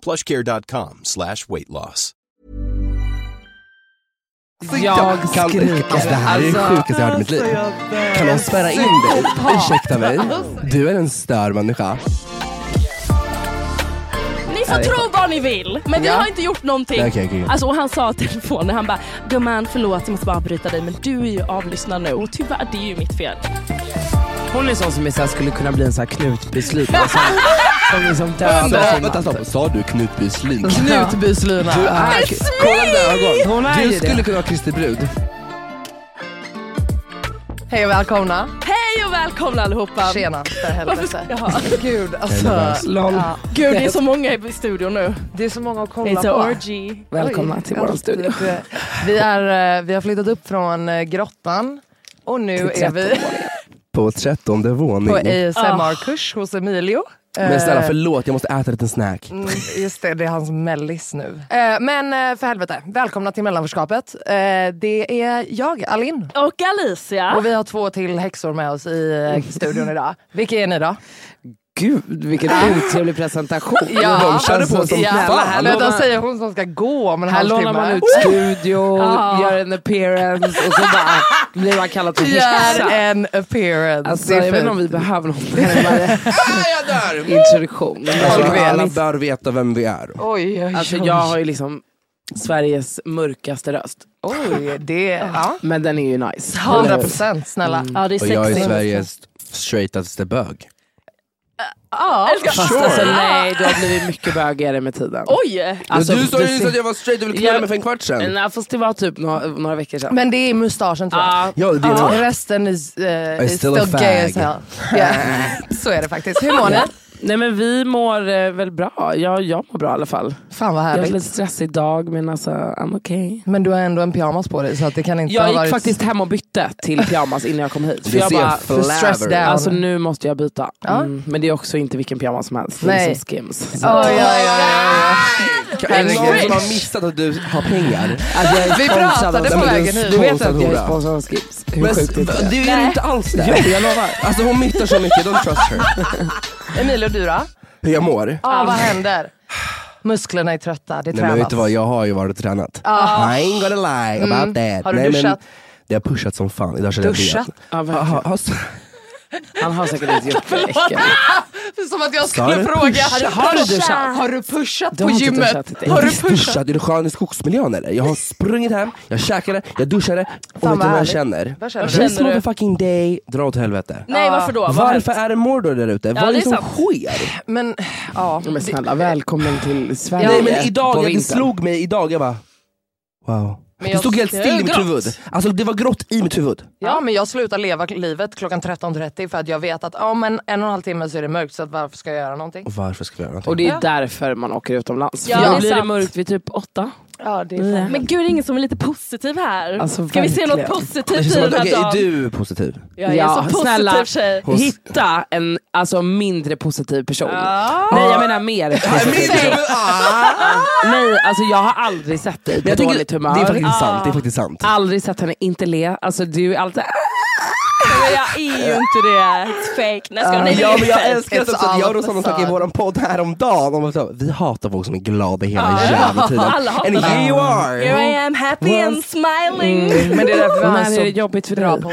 Plushcare.com slash weight loss. Jag kan, skriker. alltså, det här är det Alltså, sjukaste jag hört i mitt liv. Kan någon spärra in dig? Ursäkta mig. Alltså. Du är en störd människa. Ni får tro vad ni vill, men vi Ja. har inte gjort någonting. Nej, okej, okej. Alltså, och han sa i telefonen, han bara “Gumman förlåt jag måste bara avbryta dig men du är ju avlyssnad nu och tyvärr det är ju mitt fel”. Hon är sån som är så här, skulle kunna bli en sån här Knutby Slyn. och så här- Som liksom Sa, dödar sin vänta, man. stopp. Sa du Knutby Slyn? Knutbyslina. Du är... Ah, Kolla dina ögon. Hon är Du ju skulle det. kunna vara Kristi brud. Hej och välkomna. Hej och välkomna allihopa! Tjena för helvete. Jaha. Gud alltså. nervös. Lol. Ja, Gud det är så många i studion nu. det är så många att kolla It's a på. orgy. Välkomna Oj, till vår ja, studio. det- det- Vi, är, eh, vi har flyttat upp från eh, grottan och nu Till är vi På trettonde våning. på ASMR-kurs hos Emilio. Men snälla Eh, förlåt, jag måste äta en liten snack. Mm, Just det, det är hans mellis nu. Eh, Men eh, för helvete, välkomna till mellanförskapet. Eh, Det är jag, Alin. Och Alicia. Och vi har två till häxor med oss i eh, studion idag. Vilka är ni då? Gud vilken Ah. otrevlig presentation. de körde på som jävla fan. här Vänta, säger hon som ska gå om en Här halvtimme. lånar man ut studion, gör en appearance och så bara blir man kallad för Gör häxa. en appearance. Alltså, Det är jag vet inte om fint. vi behöver någon närmare introduktion. Alltså, vet. alla bör veta vem vi är. Oj, oj, Alltså, jag har ju liksom Sveriges mörkaste röst. oj. Det, ja. Men den är ju nice. 100 procent, snälla. Ja det är Och jag är sexigt. Sveriges straightaste bög. Ja. Alltså, nej, du har blivit mycket bögigare med tiden. Oj! Alltså, du sa det ju nyss ser- att jag var straight, du ville knulla Ja, mig för en kvart sedan. Nej, fast det var typ några, några veckor sedan. Men det är mustaschen tror jag. Ja, Ja, det är nog- Resten is, eh, is still still, a gay as fag. hell. Yeah. Så är det faktiskt. Hur mår ni? nej men vi mår eh, väl bra. Jag, jag mår bra i alla fall. Fan vad Jag har lite härligt. stressig dag men alltså I'm okay. Men du har ändå en pyjamas på dig så att det kan inte Jag ha gick varit... faktiskt hem och bytte till pyjamas innan jag kom hit. För Du jag ser bara, för stress flaver down. ut. alltså nu måste jag byta. Ja. Mm, men det är också inte vilken pyjamas som helst. Det är Nej. liksom skims. Så. Oj, oj, oj, oj, Är det någon Herregud. som har missat att du har pengar? Alltså, jag är Vi sponsrad pratade av- på Nej, men vägen du- hit. Du vet Sponsrad att jag är hora. sponsrad av skims. Hur Men, sjukt är inte det? du är inte alls det. Jo, jag lovar. Alltså hon myttar så mycket, don't trust her. oj. Emilio, du då? Hur jag mår? Ja, vad händer? Musklerna är trötta, det Nej men vet tränas. du vad, jag har ju varit och tränat. I ain't gonna lie Mm. about that. Har du Nej, duschat? det har pushat som fan. Idag körde jag Duschat? diet. Ja, Ha, verkligen. ha, ha, Han har säkert inte gjort det. Äckel. Som att jag Sa skulle du fråga, pushat? har du Pushat? duschat? Har du pushat Du på har inte gymmet? duschat, det är Har du visst pushat? duschat, är du skön i skogsmiljön eller? Jag har sprungit hem, jag käkade, jag duschade och Fan, vet du vad vad jag härligt. känner? Vad känner du? This Känner du- motherfucking day drar åt helvete. Nej varför då? Vad har hänt? Varför är det mordor där ute? Vad är det det är som sant. sker? Men, ja. Men snälla, välkommen till Sverige. Nej men på idag, det vintern. slog mig idag, jag bara wow. Det jag stod helt tycker still i mitt grått. huvud. Alltså det var grått i mitt huvud. Ja, men jag slutar leva livet klockan 13.30 för att jag vet att ja, men en och en halv timme så är det mörkt så att varför ska jag göra någonting? Och varför ska vi göra någonting? Och det är därför man åker utomlands. Ja, det Ja, För är då blir det sant. mörkt vid typ åtta. Ja, det är fan. Men gud, det är ingen som är lite positiv här. Alltså, Ska vi se något Det verkligen. positivt känns i som att, den här okej, dagen? är du positiv? Jag är en Ja, så positiv snälla. tjej. Hos- Hitta en alltså, mindre positiv person. Nej jag menar mer. positiv. Ah! Nej alltså jag har aldrig sett dig på Jag tycker, dåligt det humör. är faktiskt sant. Det är faktiskt sant. Aldrig sett henne inte le. Alltså du är alltid... Men jag är ju inte det. It's fake. Nej, ska jag- nej, Ja, det är men jag fake. älskar It's också att all jag och facade. samma sak i vår podd häromdagen. Om att så- Vi hatar folk som är glada hela jävla tiden. alla hatar And det. here you are! Here I am happy and smiling. Men det är därför vi har en När är Mm, det så jobbigt för bra dig? podd.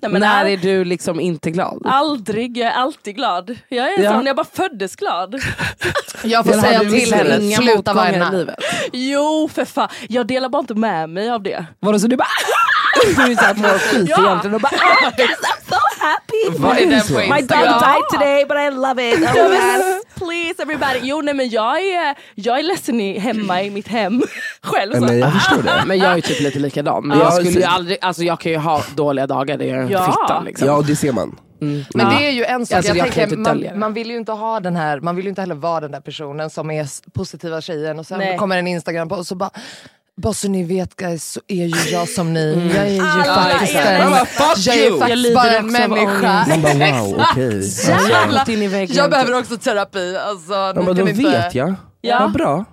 Nej, men När all- är du liksom inte glad? Aldrig, jag är alltid glad. Jag är Ja. sån, jag bara föddes glad. Jag får Eller säga hade du till liksom henne, inga sluta motgångar vara i livet? Jo för fan, jag delar bara inte med mig av det. Vadå så du bara... Du är såhär mår skit Ja. egentligen och bara... Ah, yes, I'm so happy! Vad är den på My dog Instagram? died today but I love it! Oh, yes, please everybody! Jo nej men jag är, jag är ledsen i, hemma i mitt hem själv. Så. Men jag förstår det. Men jag är typ lite likadan. Men Ja, jag, skulle ju så- aldrig, alltså jag kan ju ha dåliga dagar där jag är en Ja. fitta. Liksom. Ja, det ser man. Men det är ju en sak, Alltså, jag jag kan tänker, inte dölja det. man, man vill ju inte ha den här, man vill ju inte heller vara den där personen som är s- positiva tjejen och sen Nej. kommer en instagram på och så bara bara så ni vet guys så är ju jag som ni. Mm. Jag är ju faktiskt är en, det. jag Alla, fuck är ju you! Jag faktiskt lider bara en också av människa. Man bara wow, okej. Alltså, Rakt in i väggen. Jag behöver också terapi. Alltså, man ni bara, kan då inte- vet jag. Ja. Vad bra.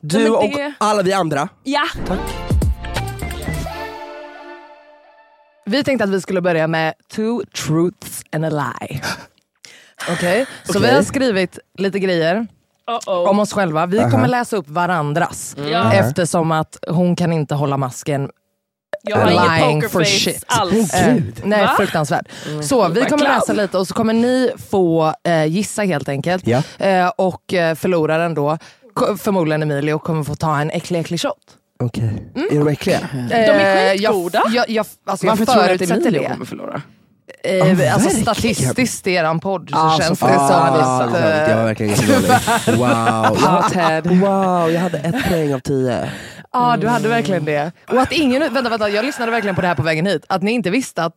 Du men och det- alla vi andra. Ja, Vi tänkte att vi skulle börja med two truths and a lie. Okej, så vi har skrivit lite grejer uh-oh. om oss själva. Vi kommer läsa upp varandras. Ja. Eftersom att hon kan inte hålla masken. jag har ingen Lying for pokerface shit. alls. Eh, nej, Va? Mm. fruktansvärt. Så vi my kommer God. läsa lite och så kommer ni få eh, gissa helt enkelt. Ja. Eh, och eh, förloraren då, ko- förmodligen Emilio, kommer få ta en äcklig äcklig shot. Okej. Är de äckliga? De är skitgoda. skitgoda. Eh, Jag, jag, jag, alltså, jag Varför tror du att förutsätter Emilio det. kommer förlora? Eh, alltså verkligen. statistiskt i eran podd så Ah, så känns Ah, det som att... sant. jag var eh, verkligen jättedålig. Wow. Hothead. Wow, jag hade ett poäng av tio. Ja, du hade verkligen det. Och att ingen... Vänta, vänta, jag lyssnade verkligen på det här på vägen hit. Att ni inte visste att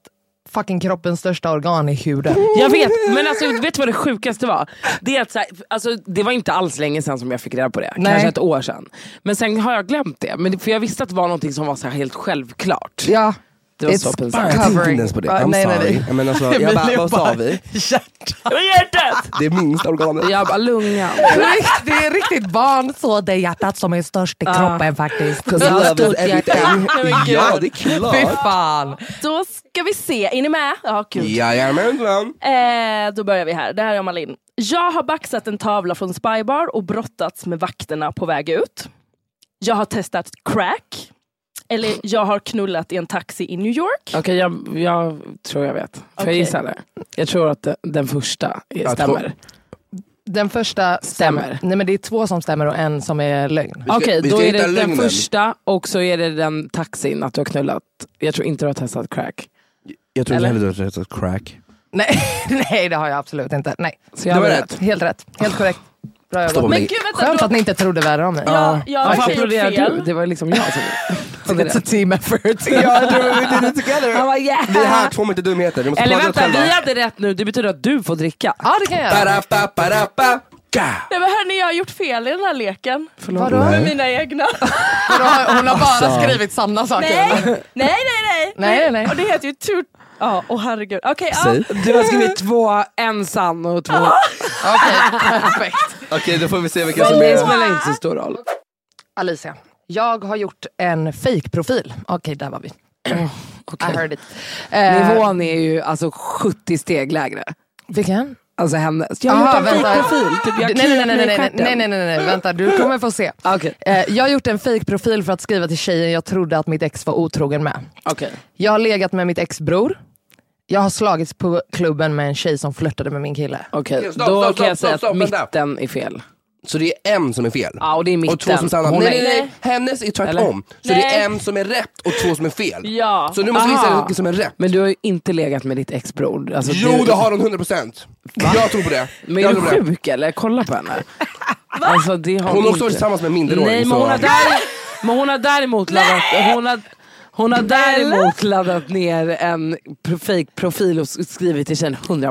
fucking kroppens största organ är huden. Jag vet, men alltså, vet du vad det sjukaste var? Det, är att, så här, alltså, det var inte alls länge sedan som jag fick reda på det, Nej. kanske ett år sedan. Men sen har jag glömt det, men, det- för jag visste att det var något som var så här helt självklart. Ja. Det var It's så pinsamt. fine. Jag tänkte Covering. inte ens på det. Ah, I'm nej, nej, sorry. nej. Jag, men alltså, jag bara, vad sa vi? Det var hjärtat! Det är minsta organet. Jag bara, lungan. Det är riktigt barn så, det är hjärtat som är störst i kroppen faktiskt. 'Cause love is everything. Nej, men gud. Ja, det är Fy klart. fan. Då ska vi se, är ni med? Ja, kul. Jajamensan. Eh, då börjar vi här. Det här är om Malin. Jag har baxat en tavla från Spybar och brottats med vakterna på väg ut. Jag har testat crack. Eller jag har knullat i en taxi i New York. Okej, jag, jag tror jag vet. Får Okej. jag gissa eller? Jag tror att den- den första är- stämmer. Den första Stämmer. Nej men det är två som stämmer och en som är lögn. ska- Okej, vi då ska är hitta det den lögnen. första och så är det den taxin att du har knullat. Jag tror inte du har testat crack. Jag tror inte Eller? heller du har testat crack. Nej, nej det har jag absolut inte. Nej. Så jag Det var hade rätt. Helt rätt, helt korrekt. Bra Stoppa jobbat. Men mig. gud vänta, Skönt då- att ni inte trodde värre om mig. Ja, Varför jag har gjort applåderar du? fel. Det var liksom jag som hade It's a rätt. team effort. Ja, jag tror vi did it Han together. bara, yeah. Vi är här, två meter dumheter. Vi måste Eller plugga oss vänta, själva. vi hade rätt nu. Det betyder att du får dricka. Ja det kan jag göra. Barappa, barappa, ka. Nej men hörni, jag har gjort fel i den här leken. Vadå? Med mina egna. Vadå, Hon har bara skrivit sanna saker. Alltså. nej, nej, nej, nej. Nej, nej. Och det heter ju tur... Ja, åh herregud. Okej, Säg. ja. Du har skrivit två, en sann och två... Okej, perfekt. Okej, då får vi se vilka som Men det är... spelar inte så stor roll. Alicia, jag har gjort en fake-profil. Okej, där var vi. I heard it. Eh, Nivån är ju alltså 70 steg lägre. Vilken? Alltså hennes. Jag har Aha, gjort en vänta. fejkprofil. Typ jag Nej, nej, nej, kliar mig nej, i nej, nej, stjärten. nej, nej, nej, nej, vänta, du kommer få se. Okej, Eh, jag har gjort en fake-profil för att skriva till tjejen jag trodde att mitt ex var otrogen med. okej. Jag har legat med mitt ex-bror. Jag har slagits på klubben med en tjej som flörtade med min kille. Okej, stopp, då stopp, kan jag stopp, säga stopp, att vänta. mitten är fel. Så det är en som är fel. Ja, och det är mitten. Och två som sanna. Nej, Hon är- nej, nej. Hennes är tvärtom. Så det Nej. är en som är rätt och två som är fel. Ja. Så nu måste vi Aha. gissa vilken som är rätt. Men du har ju inte legat med ditt exbror. Alltså, Jo, du, det har hon 100 procent. Jag tror på det. Men är jag du tror på det. sjuk eller? Kolla på henne. Alltså, det har Hon hon har också varit inte. tillsammans med en minderåring. Nej, men så- hon har, där, men hon har däremot laddat... Hon har, Hon har däremot laddat ner en pro- fake profil och skrivit till tjejen 100%.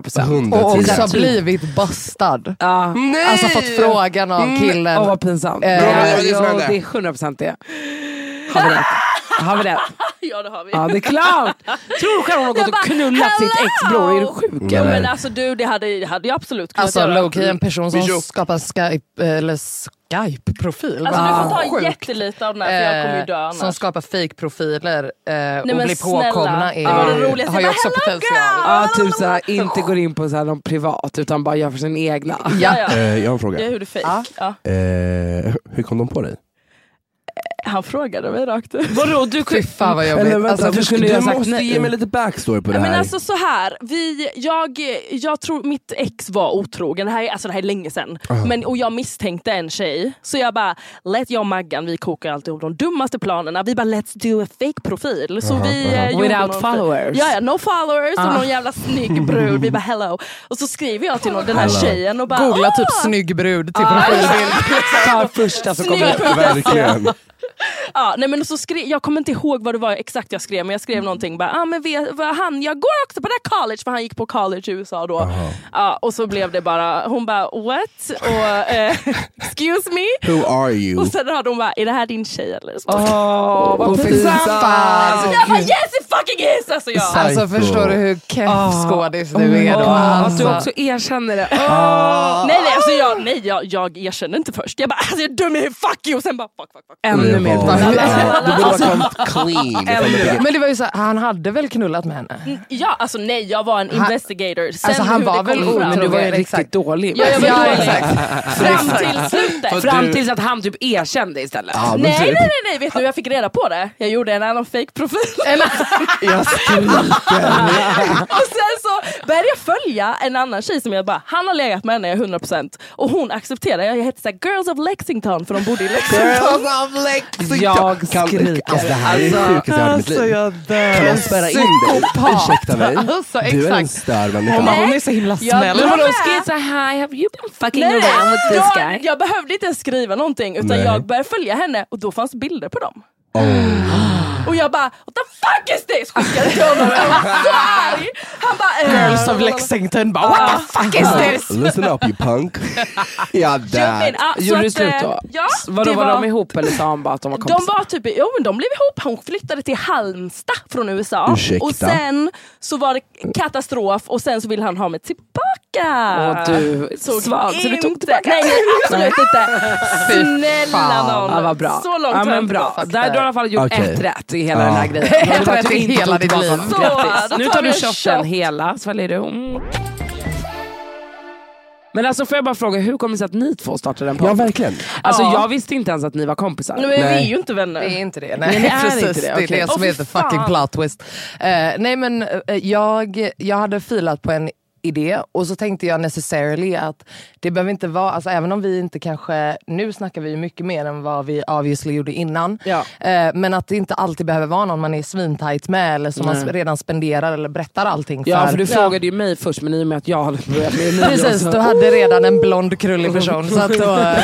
Och också 100 000. typ, blivit bastad. Ja. Nej! Alltså fått frågan av Mm. killen. mm, Åh vad pinsamt. Eh, Ja, Bra, ja, det är som hände. det är 100% det. Har vi rätt? Har vi rätt? Ja det har vi. Ja det är klart. Tror du själv hon har gått Jag och bara, knullat sitt hello! ex-bror? Är du sjuk Jo, Nej. men alltså du det hade, det hade jag absolut kunnat alltså göra. lowkey en person som Bijou. skapar Skype, eller Skype-profil. Alltså Vad du får ta Ah, sjukt. jättelite av den här för jag kommer ju dö Eh, annars. Som skapar fake-profiler eh, och men blir snälla. påkomna är, Det var det roligaste. har ju Jag också bara, "Hello, potential. Ja, typ såhär, inte går in på såhär, någon privat utan bara gör för sin egna. ja, ja. Eh, jag har en Det fråga. är hur du fejk. Ja. Eh, hur kom de på dig? Han frågade mig rakt ut. Vadå? Du Fy fan vad jobbigt. Alltså, du skulle ju du ha sagt måste nej. ge mig lite backstory på det Men här. alltså så här, vi, jag, jag tror mitt ex var otrogen, det här, är- alltså det här är länge sedan. Ah. Men, och jag misstänkte en tjej, så jag bara, let jag och Maggan, vi kokar alltid ihop de dummaste planerna. Vi bara, let's do a fake profil. Så vi, eh, gjorde Without någon- followers. Ja, ja, no followers och någon jävla snygg brud. Vi bara hello. Och så skriver jag till någon, den här tjejen och bara, Googla "Åh, typ snygg brud till Ah, profilbild. Ta första som kommer Snygg upp. Verkligen. Ja, nej, men så skrev, jag kommer inte ihåg vad det var exakt jag skrev, men jag Mm. skrev någonting bara, ah, men vet, vad han, jag går också på det här college, för han gick på college i USA då. Ja, och så blev det bara, hon bara what? Och, eh, excuse me? Who are you? Och sen hade hon bara, är det här din tjej eller? Så Alltså, Åh, vad Åh, fy pinsamt. Fan. jag bara yes it fucking is! Alltså, jag, Alltså Psycho. förstår du hur keff skådis Ah. du är då? Åh, Att du Alltså. också erkänner det. nej nej, alltså, jag, nej jag, jag erkände inte först. Jag bara, alltså, jag är dum i huvudet, fuck you! Och sen bara, fuck fuck fuck. Eh. Ännu mer Alltså, Ja. pinsamt. Du borde ha kommit clean. Alltså, Men det var ju så här, han hade väl knullat med henne? Ja, alltså nej, jag var en investigator. Sen Alltså, han hur var det väl kom fram- Men du var ju Otrogen, riktigt exakt. dålig. Ja, jag var Ja, dålig. exakt. Fram till slutet. Fram tills att han typ erkände istället. Ja, men Nej, nej, typ. nej, nej, vet du hur jag fick reda på det? Jag gjorde en annan fake profil Jag skriker. och sen så började jag följa en annan tjej som jag bara, han har legat med henne jag är 100% och hon accepterade, jag hette såhär Girls of Lexington för de bodde i Lexington. Girls of Lexington. Jag Kan- skriker. alltså, Alltså, det här är det sjukaste jag hört i mitt liv. Kan de spärra in dig? Ursäkta mig. Alltså, Du är en exakt. störd Hon människa. bara, hon är så himla Jag snäll. drar med. så hi, have you been fucking Nej, jag, jag behövde inte ens skriva någonting utan Nej. jag började följa henne och då fanns bilder på dem. Och jag bara, what the fuck is this? Skickade till honom, jag var så arg! Han bara, eh, Girls of Lexington bara what the fuck is this? Listen up you punk. Ja, där. men, ah, så Gjorde du att, slut eh, då? Ja, Vadå, det var de ihop eller sa han bara att de var De kompisar? var typ, jo men de blev ihop, hon flyttade till Halmstad från USA. Ursäkta. Och sen så var det katastrof och sen så ville han ha mig tillbaka. Åh, du svag, så du tog inte- tillbaka? Nej, nej absolut inte. Snälla någon. Ja, vad bra. Så långt ja, har jag men inte bra. gått. Där, du har i alla fall gjort Okej. ett rätt i hela den här grejen. Ett rätt i hela ditt liv. Så, då Grattis. Nu tar tar vi du en shotten shot. hela, sväljer du. Mm. Men alltså får jag bara fråga, hur kommer det sig att ni två startade en Ja podd? verkligen. Alltså Ja. jag visste inte ens att ni var kompisar. Men vi är Nej. ju inte vänner. Det är inte det. Nej, Nej, det är precis. inte det. det. Okej. är det som Åh, fy heter fucking fan. plot twist. Eh, nej men eh, jag, jag hade filat på en idé och så tänkte jag necessarily att det behöver inte vara, alltså även om vi inte kanske, nu snackar vi ju mycket mer än vad vi obviously gjorde innan, Ja. Eh, men att det inte alltid behöver vara någon man är svintajt med eller som man Nej. sp- redan spenderar eller berättar allting för. Ja för du frågade ju mig först men i och med att jag hade börjat med ni Precis, också. du hade redan en blond krullig person. Så att då,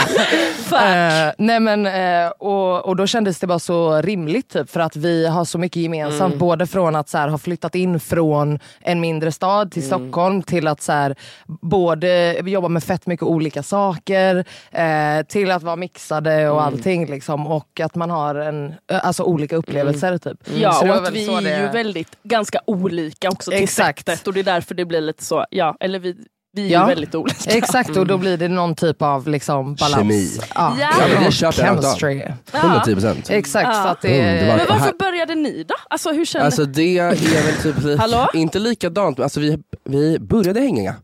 Eh, nej men, eh, och, och då kändes det bara så rimligt typ, för att vi har så mycket gemensamt. Både från att så här, ha flyttat in från en mindre stad till Stockholm till att så här, både jobba med fett mycket olika saker eh, till att vara mixade och allting. Liksom, och att man har en, eh, alltså, olika upplevelser. Typ. Ja, Så det och var att väl vi så det- är ju väldigt, ganska olika också till Exakt. sättet. Och det är därför det blir lite så, ja, eller vi, vi är Ja. ju väldigt olika. Exakt, och då blir det någon typ av liksom balans. Mm. Kemi. Ja, Ja. Ja, men vi kör det här då. chemistry. 110 procent. Exakt, så att det Underbart. Men Och varför här- började ni då? Alltså hur känner Alltså det är väl typ li- Hallå? inte likadant, men alltså vi, vi började hänga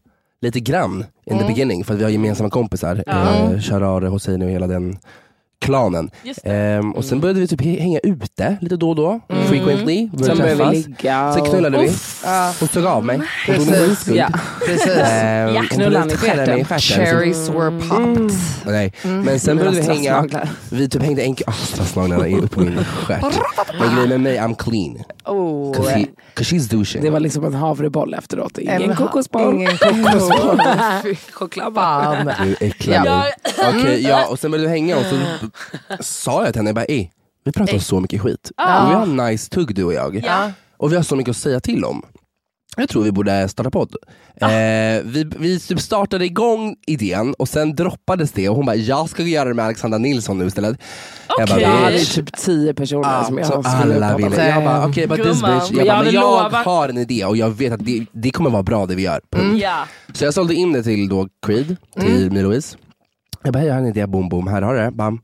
lite grann in Mm. the beginning för att vi har gemensamma kompisar. Eh, Sharare, Hosseini och hela den klanen. Just Mm. Ehm, och sen började vi typ he- hänga ute lite då och då, frequently. Började Sen började vi träffas. ligga. Sen knullade vi. Hon tog av mig. Hon tog min skuld. Ja. Precis. Ehm, Ja, hon knullade han i skärde mig stjärten. Mm. stjärten. Cherries were popped. Nej. Men sen började vi hänga, strassnaglar. vi typ hängde en kväll, oh, strassnaglarna är uppe på min stjärt. Men grejen med mig, I'm clean. Oh. Cause, he, cause she's douching. Det var liksom en havreboll efteråt. Ingen En- kokosboll. Ingen kokosboll. Fy Chokladboll. fan. Mm. Du äcklar mig. Okej, ja, och sen började vi hänga och så b- sa jag till henne, jag bara, "Ey, Vi pratar om så mycket skit. Ja. Och vi har nice tugg du och jag. Ja. Och vi har så mycket att säga till om. Jag tror vi borde starta podd. Eh, vi vi typ startade igång idén och sen droppades det och hon bara, jag ska göra det med Alexandra Nilsson nu istället. Jag bara, Okej. Ja, "Bitch." det är typ tio personer som jag så har alla ville. Jag bara, okej but this Gumman. bitch. Jag, Jag bara, hade men jag lovat- har en idé och jag vet att det, det kommer vara bra det vi gör. Punkt. Ja. Så jag sålde in det till då Creed, till Marie-Louise. Jag bara, hej, jag har en idé, boom boom, här har du det, bam.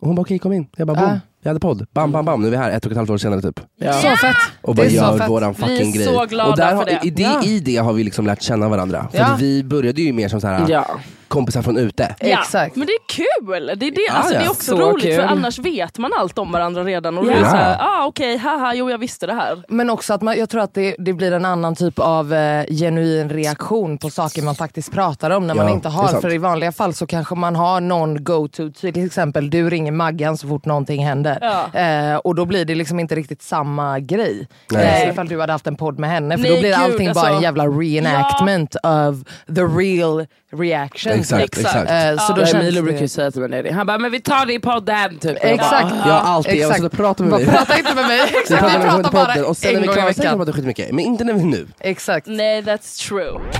Och hon bara, okej kom in. Jag bara, boom. Ah. Jag hade podd, bam bam bam, nu är vi här ett och ett halvt år senare typ. Så fett. Och Det bara är så gör fett. våran Vi är fucking grej. så glada och där har, för det. I, det, Ja. I det har vi liksom lärt känna varandra. För Ja. att vi började ju mer som så här, Ja. kompisar från ute. Ja. Exakt. Men det är kul! Det är, det. Alltså, ja. det är också Så roligt kul. för annars vet man allt om varandra redan. Och då Ja. är det såhär, ah, okej, haha, jo jag visste det här. Men också att man, jag tror att det, det blir en annan typ av eh, genuin reaktion på saker man faktiskt pratar om när Ja, man inte det har. är sant. För i vanliga fall så kanske man har någon go-to. Till exempel du ringer Maggan så fort någonting händer. Ja. Eh, och då blir det liksom inte riktigt samma grej. Nej. Eh, ifall du hade haft en podd med henne. För Nej, då blir gud, allting bara en alltså. jävla reenactment of the real reaction. Exakt, Exakt. exakt. Eh, så då Ja, känns Emilio brukar ju det... säga till mig när det. Han bara, men vi tar det i podden. Typ. Jag Bara, Exakt. jag har alltid, jag har suttit och pratat med Bara, mig. Prata inte med mig. Exakt, Vi pratar vi med pratar podden bara och sen när en vi gång i klarar sen veckan. pratar vi skitmycket. Men inte när vi nu. Exakt. Nej, that's true. Okej,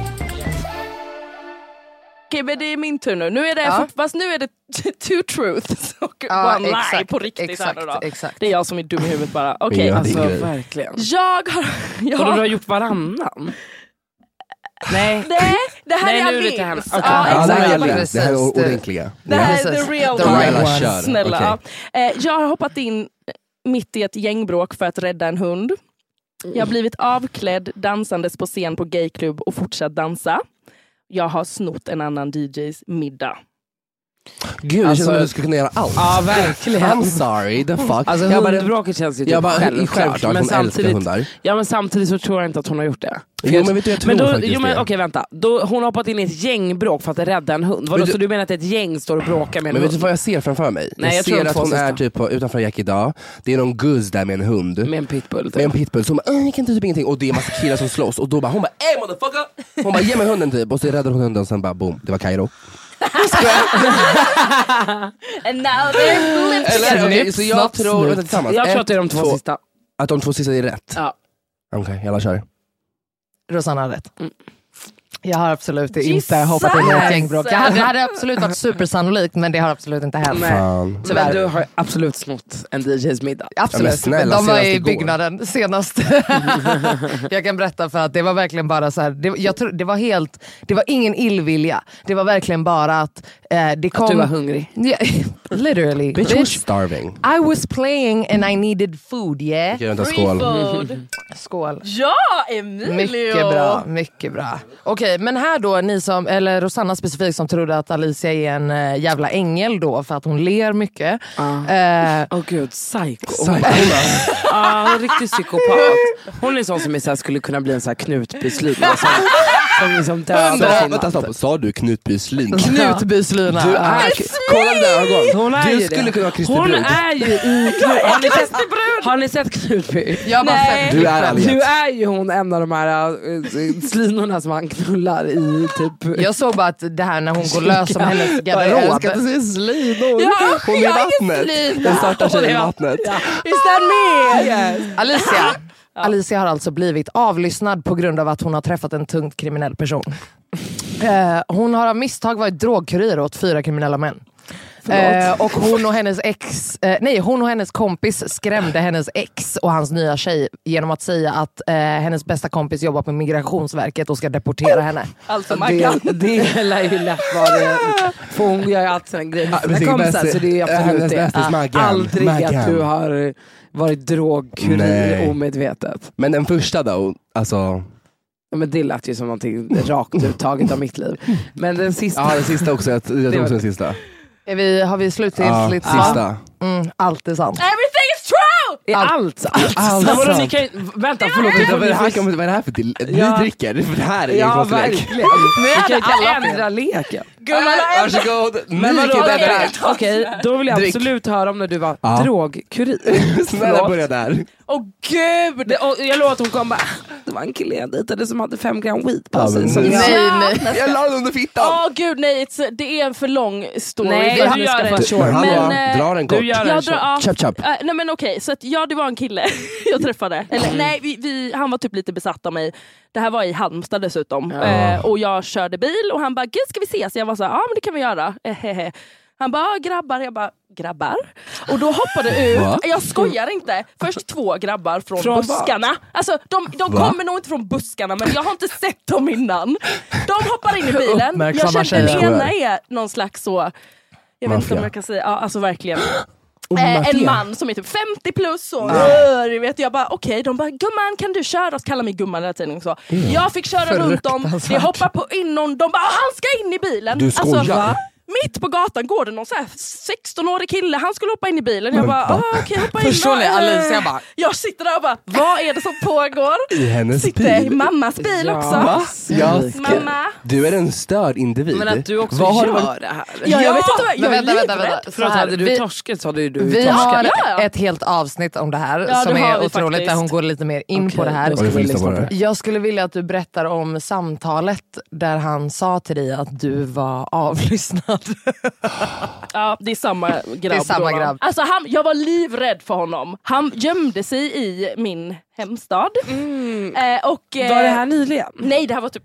men det är min tur nu. nu är det Ja. fort, fast nu är det t- two truths och Ja, one lie exakt, på riktigt. här nu exakt, då. exakt. Det är jag som är dum i huvudet bara. Okej, gör det. alltså. Så, Grej. verkligen. Jag har... Jag Och du har har gjort varannan? Nej. nej, det här Nej, nu är är det till Alins. henne. Okej. Ja, Ja, det, Alltså, exakt. här Ja, gäller. precis. det här är ordentliga. Det här är Precis. the real The one. real one. Kör. Snälla. Snälla. Eh, Jag har hoppat in mitt i ett gängbråk för att rädda en hund. Jag har blivit avklädd dansandes på scen på gayklubb och fortsatt dansa. Jag har snott en annan DJs middag. Gud, det Alltså- känns som att du skulle kunna göra allt. Ja, verkligen. I'm sorry, the fuck. Alltså jag bara, hundbråket känns ju typ jag bara, självklart, självklart. hon älskar hundar. ja, men samtidigt så tror jag inte att hon har gjort det. Jo men vet du, jag tror men då, faktiskt jo, men, det. Okej vänta, då, hon har hoppat in i ett gängbråk för att rädda en hund. Vadå, Men du- så du menar att ett gäng står och bråkar med en Men vet du hund? vad jag ser framför mig? Nej, jag tror ser de att två hon är sista. typ på, utanför Jack idag, det är någon guzz där med en hund. Med en pitbull? Typ. med en pitbull som bara, "Äh, jag kan inte typ ingenting och det är massa killar som slåss och då bara hon bara ey motherfucker! Hon bara ge mig hunden typ och så räddar hon hunden och sen bara boom, det var Kairo. And now they're living Eller together. okej, Snipp, så jag snapp, tror, snut. vänta, tillsammans. jag tror att det är de Ett, två, sista. Att de två sista är rätt? Ja. Okej, alla kör. Rosanna har rätt. Jag har absolut inte Mm. Jesus! hoppat in i ett gängbråk. Jag hade, det hade absolut varit supersannolikt men det har absolut inte hänt. Nej. Fan. Så men du har absolut snott en DJs middag. Ja, Absolut, men snälla, de var senast i igår. byggnaden senast. jag kan berätta för att det var verkligen bara så här, det, jag tror, det var helt, det var ingen illvilja. Det var verkligen bara att eh, det kom... Att du var hungrig. Ja, literally. Bitch, we're starving. I was playing and I needed food yeah. Okej, vänta, Free skål. food. Skål. Ja, Emilio! Mycket bra, mycket bra. Okej, men här då, ni som, eller Rosanna specifikt som trodde att Alicia är en eh, jävla ängel då för att hon ler mycket. Eh, Åh gud, psycho. Ah, Psycho. Ja, en riktig psykopat. Hon är en sån som är så här, skulle kunna bli en så här knutbyslina. Som, som liksom dödar Sa, sin vänta man. stopp, sa du knutbyslin? Knutbyslina. Ah. Du är, kolla dina ögon. Hon är du ju skulle det. kunna vara Kristi Hon Brud. är ju i Knut... Har ni sett, har ni sett Knutby? Jag bara, Nej. fem- Du är Aliens. Du är ju hon en av de här äh, slinorna som han knullar i typ... Jag såg bara att det här när hon går lös om hennes Jag älskar garderob. att du säger slinor. Ja, hon jag är i vattnet. slina. Den svarta tjejen i Ja. vattnet. Visst är han med? Alicia. Alicia har alltså blivit avlyssnad på grund av att hon har träffat en tungt kriminell person. Eh, hon har av misstag varit drogkurir åt fyra kriminella män. Eh, och hon och hennes ex, eh, nej hon och hennes kompis skrämde hennes ex och hans nya tjej genom att säga att eh, hennes bästa kompis jobbar på migrationsverket och ska deportera henne. Alltså Maggan. Det, det lär ju lätt vara det. För hon gör ju alltid sådana grejer med sina precis, kompisar bästis- så det är ju äh, absolut hennes det. bästis, Ah, Maggan, Aldrig att Maggan. du har varit drogkurir Nej. omedvetet. Men den första då, alltså. Ja, Men det lät ju som någonting rakt uttaget av mitt liv. Men den sista. Ja den sista också, jag, jag tror också den sista. Är vi, har vi slutgiltigt Ja, sista. Mm, allt är sant. Everything is true! Är allt, allt, allt sant? Vadå, sant? ni kan, ju- vänta, förlåt. Vänta, vad, är det här, ni får- kommer- vad är det här för till? Ni Ja. dricker, för det här är Ja, en konstlek. verkligen. Ni kan ju inte ändra leken. Gumman har ändå... Varsågod, ny Men vadå, kille okej, där. okej. Okej, då vill jag Drick. absolut höra om när du var Ja. drogkurir. Snälla börja där. Åh gud! Det- Och jag lovar att hon kom bara, det var en kille jag dejtade som hade fem gram weed på Ja, sig. men- Så Nej. nej. Jag la den under fittan. Åh gud nej, it's, det är en för lång story. Nej, för att du vi gör ska det. få- Du- Men hallå, Men, eh, dra den kort. du gör- Jag så. drar av. Chop, chop. Eh, nej men okej, så att, ja det var en kille jag träffade. Eller Mm. nej, vi, vi, han var typ lite besatt av mig. Det här var i Halmstad dessutom. Eh, och jag körde bil och han bara, gud ska vi ses? Jag var så här, ja men det kan vi göra. Eh, he, he. Han bara, "Ja, grabbar. Jag bara, grabbar? Och då hoppade ut, Va? jag skojar inte, först två grabbar från, Från buskarna. Alltså de, de Va? kommer nog inte från buskarna men jag har inte sett dem innan. De hoppar in i bilen, jag Uppmärksamma känner den tjejer. ena är någon slags så, jag vet inte Maffia. om jag kan säga, ja, alltså verkligen. Och Eh, en Mattia. man som är typ 50 plus och rör, du vet jag bara okej, de bara gumman kan du köra oss, kallar mig gumman hela tiden. och Så. Mm. Jag fick köra runt dem, det hoppar på innan, de bara "Ah, han ska in i bilen. alltså. Alltså, Du skojar. va? mitt på gatan går det någon så här 16-årig kille, han skulle hoppa in i bilen. Jag Men bara va? ah, okej hoppa in. Förstår ni? Eh, Alicia bara- Jag sitter där och bara vad är det som pågår? I hennes sitter i bil? mammas bil Ja. också. Va? Jag ska- Mamma. Du är en störd individ. Men att du också Vad har gör du varit- det här. Ja, jag vet inte vad Men jag är vänta, vänta, livrädd. vänta. Så Förlåt, här, hade du vi- torskat så hade ju du Vi torskat. har Ja, ja. ett helt avsnitt om det här det som har är vi otroligt, faktiskt. där hon går lite mer in på det Okej, här. då ska Ja, vi får vi lyssna på lyssna på det. det. Jag skulle vilja att du berättar om samtalet där han sa till dig att du var avlyssnad. Ja, det är samma grabb. är samma då, va? grabb. Alltså, han, jag var livrädd för honom. Han gömde sig i min hemstad. Mm. Eh, och, eh, Var det här nyligen? Nej, det här var typ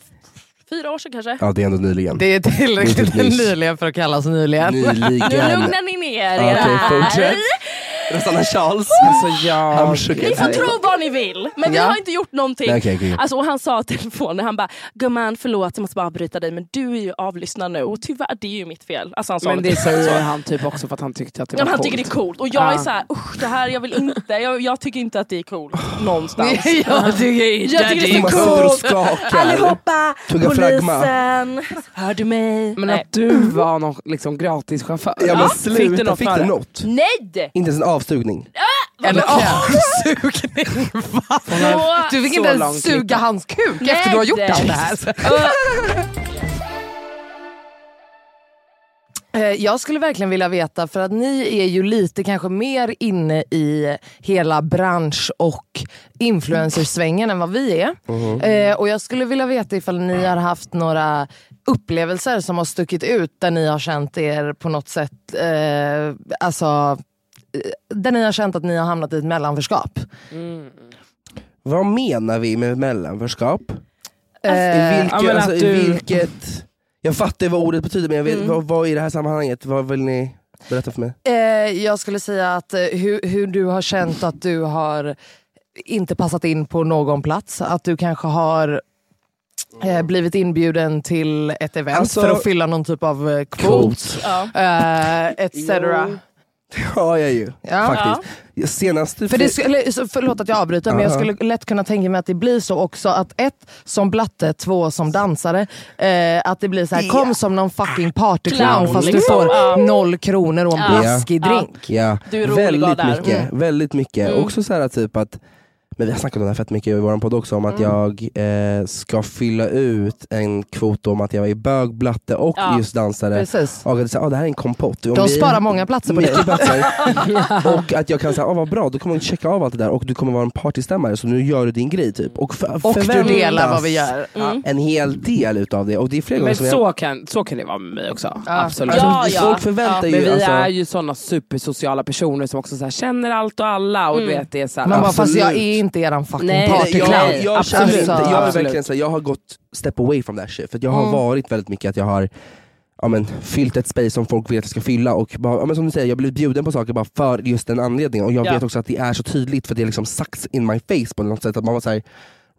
fyra år sedan kanske. Ja, det är ändå nyligen. Det är tillräckligt Det är nyss. nyligen för att kallas nyligen. Nu Nyligen. lugnar ni ner er. Ja, Okej, här. fortsätt. Rosanna Charles. Alltså jag... I'm shook. Ni får tro vad ni vill, men vi Ja. har inte gjort någonting. Nej, okej, okej. Alltså, och han sa i telefonen, han bara “gumman förlåt jag måste bara avbryta dig men du är ju avlyssnad nu och tyvärr det är ju mitt fel”. Alltså, han sa Men det det säger han typ också för att han tyckte att det Ja, var men han coolt. tycker det är coolt och jag är Ja. så här, usch det här jag vill inte, jag, jag tycker inte att det är coolt någonstans. jag tycker inte Jag tycker det är Man så sitter coolt. och skakar. Allihopa! Tugga fragma. Hör du mig? Men att du var någon liksom gratischaufför. Ja men Fick du sluta, något fick för du det? något? Nej! Inte ens en avsugning. en avsugning. Va? Så- Du fick Så inte långt ens suga gick hans kuk Nej, efter du har gjort det- allt det här. Eh, Jag skulle verkligen vilja veta, för att ni är ju lite kanske mer inne i hela bransch och influencersvängen än vad vi är. Eh, och jag skulle vilja veta ifall ni har haft några upplevelser som har stuckit ut där ni har känt er på något sätt, eh, alltså eh, där ni har känt att ni har hamnat i ett mellanförskap. Vad menar vi med mellanförskap? Eh, I, vilket, men alltså, att i du- vilket... Jag fattar vad ordet betyder men jag vet, Mm. vad, vad i det här sammanhanget, vad vill ni berätta för mig? Eh, jag skulle säga att eh, hur, hur du har känt att du har inte passat in på någon plats. Att du kanske har eh, blivit inbjuden till ett event Alltså- för att fylla någon typ av eh, Typ- kvot. Ja. Eh, etc. Ja jag ju, Ja. faktiskt. Senast du För det skulle, så förlåt att jag avbryter, men jag Aha. skulle lätt kunna tänka mig att det blir så också. Att ett, som blatte, två, som dansare. Eh, att det blir så här, kom som någon fucking partyclown Clown, fast du liksom. Ja. får noll kronor och en Ja. blaskig Ja. drink. Ja, Du är rolig och väldigt där. mycket. Mm. Väldigt mycket. Också så här typ att, men vi har snackat om det här fett mycket i vår podd också, om Mm. att jag eh, ska fylla ut en kvot om att jag är bög, blatte och Ja, just dansare. Precis. Och att, så, här, ah, det här är en kompott. Om De vi- sparar många platser på dig. mycket platser. och att jag kan säga, ah, vad bra, då kommer jag checka av allt det där och du kommer vara en partystämmare så nu gör du din grej typ. Och, för, Och du förväntas delar vad vi gör. En hel del utav det. Och det är flera gånger Men som jag... så kan, så kan det vara med mig också. Absolut. Ja, Alltså, Folk förväntar ju... Men vi alltså, är ju sådana supersociala personer som också så här, känner allt och alla. Och du vet, det är så här, Man bara, fast jag Absolut. är inte eran fucking Nej, Nej, Partyclown. partyclown. Jag, jag, känner Absolut. inte, jag, är Absolut. verkligen, så här, jag har gått step away from that shit. För att jag har Mm. varit väldigt mycket att jag har ja, men, fyllt ett space som folk vill att jag ska fylla. Och bara, ja, men, som du säger, jag har blivit bjuden på saker bara för just den anledningen. Och jag Ja. vet också att det är så tydligt för det är liksom sucks in my face på något sätt. Att man var såhär,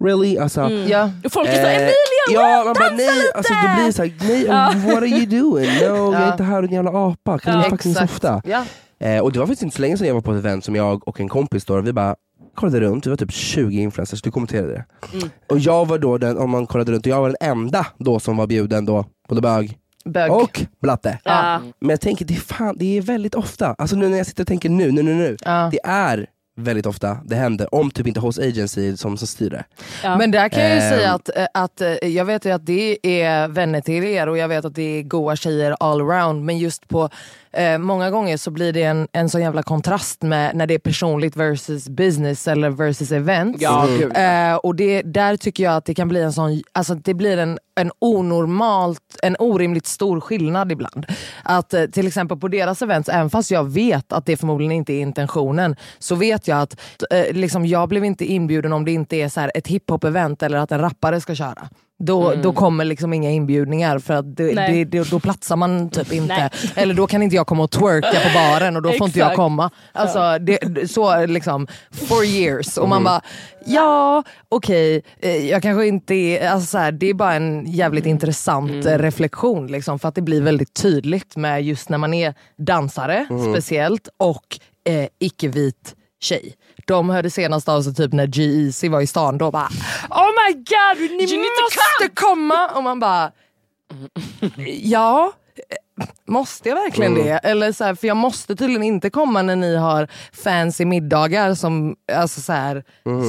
really? Alltså, Ja. Och Mm. folk är så Emilia! Eh, ja, man bara nej, alltså, du blir såhär, nej, what are you doing? No, jag är inte här, din jävla apa, kan du fucking softa? Ja. Eh, och det var faktiskt inte så länge sedan jag var på ett event som jag och en kompis då, vi bara kollade runt, vi var typ 20 influencers, du kommenterade det. Mm. Och jag var då den, om man kollade runt, och jag var den enda då som var bjuden då, både bög Bög. och blatte. Ja. Men jag tänker, det är, fan, det är väldigt ofta, alltså nu när jag sitter och tänker nu, nu, nu, nu. Ja. Det är väldigt ofta det händer, om typ inte Host Agency som, som styr det. Men där kan jag ju Ehm. säga att, eh, att eh, jag vet ju att det är vänner till er och jag vet att det är goa tjejer allround. Men just på, eh, många gånger så blir det en, en sån jävla kontrast med när det är personligt versus business eller versus events. Ja, gud. Mm. Eh, och det, där tycker jag att det kan bli en sån, alltså det blir en, en onormalt, en orimligt stor skillnad ibland. Att eh, till exempel på deras events, även fast jag vet att det förmodligen inte är intentionen, så vet jag att eh, liksom, jag blev inte inbjuden om det inte är så här ett hiphop-event eller att en rappare ska köra. Då, då kommer liksom inga inbjudningar för att det, Nej. det, det, då platsar man typ inte. Nej. Eller då kan inte jag komma och twerka på baren och då får inte jag Exakt. komma. Alltså, det, det- så liksom, for years. Och man bara, ja okej, eh, jag kanske inte är, alltså, så här, det är bara en jävligt intressant eh, reflektion. Liksom, för att det blir väldigt tydligt med just när man är dansare speciellt och eh, icke-vit tjej. De hörde senast av sig typ när G-Eazy var i stan, då bara Oh my god, ni to måste komma! Och man bara Ja, eh, Måste jag verkligen det? Eller så här, för jag måste tydligen inte komma när ni har fancy middagar som, alltså så här,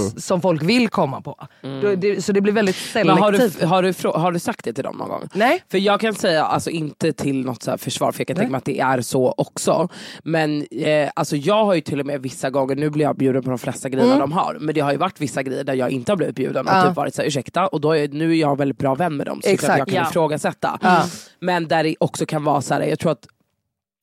s- som folk vill komma på. Då, det, så det blir väldigt Mm. Men har, selektivt. du, har, du, frå- har du sagt det till dem någon gång? Nej. För jag kan säga, alltså inte till något så här försvar, för jag kan tänka mig att det är så också. Men eh, alltså jag har ju till och med vissa gånger, nu blir jag bjuden på de flesta grejerna de har, men det har ju varit vissa grejer där jag inte har blivit bjuden och Ja. typ varit såhär, ursäkta, och då är, nu är jag en väldigt bra vän med dem så det är klart Exakt. jag kan Ja. ifrågasätta. Mm. Men där det också kan vara så här, jag tror att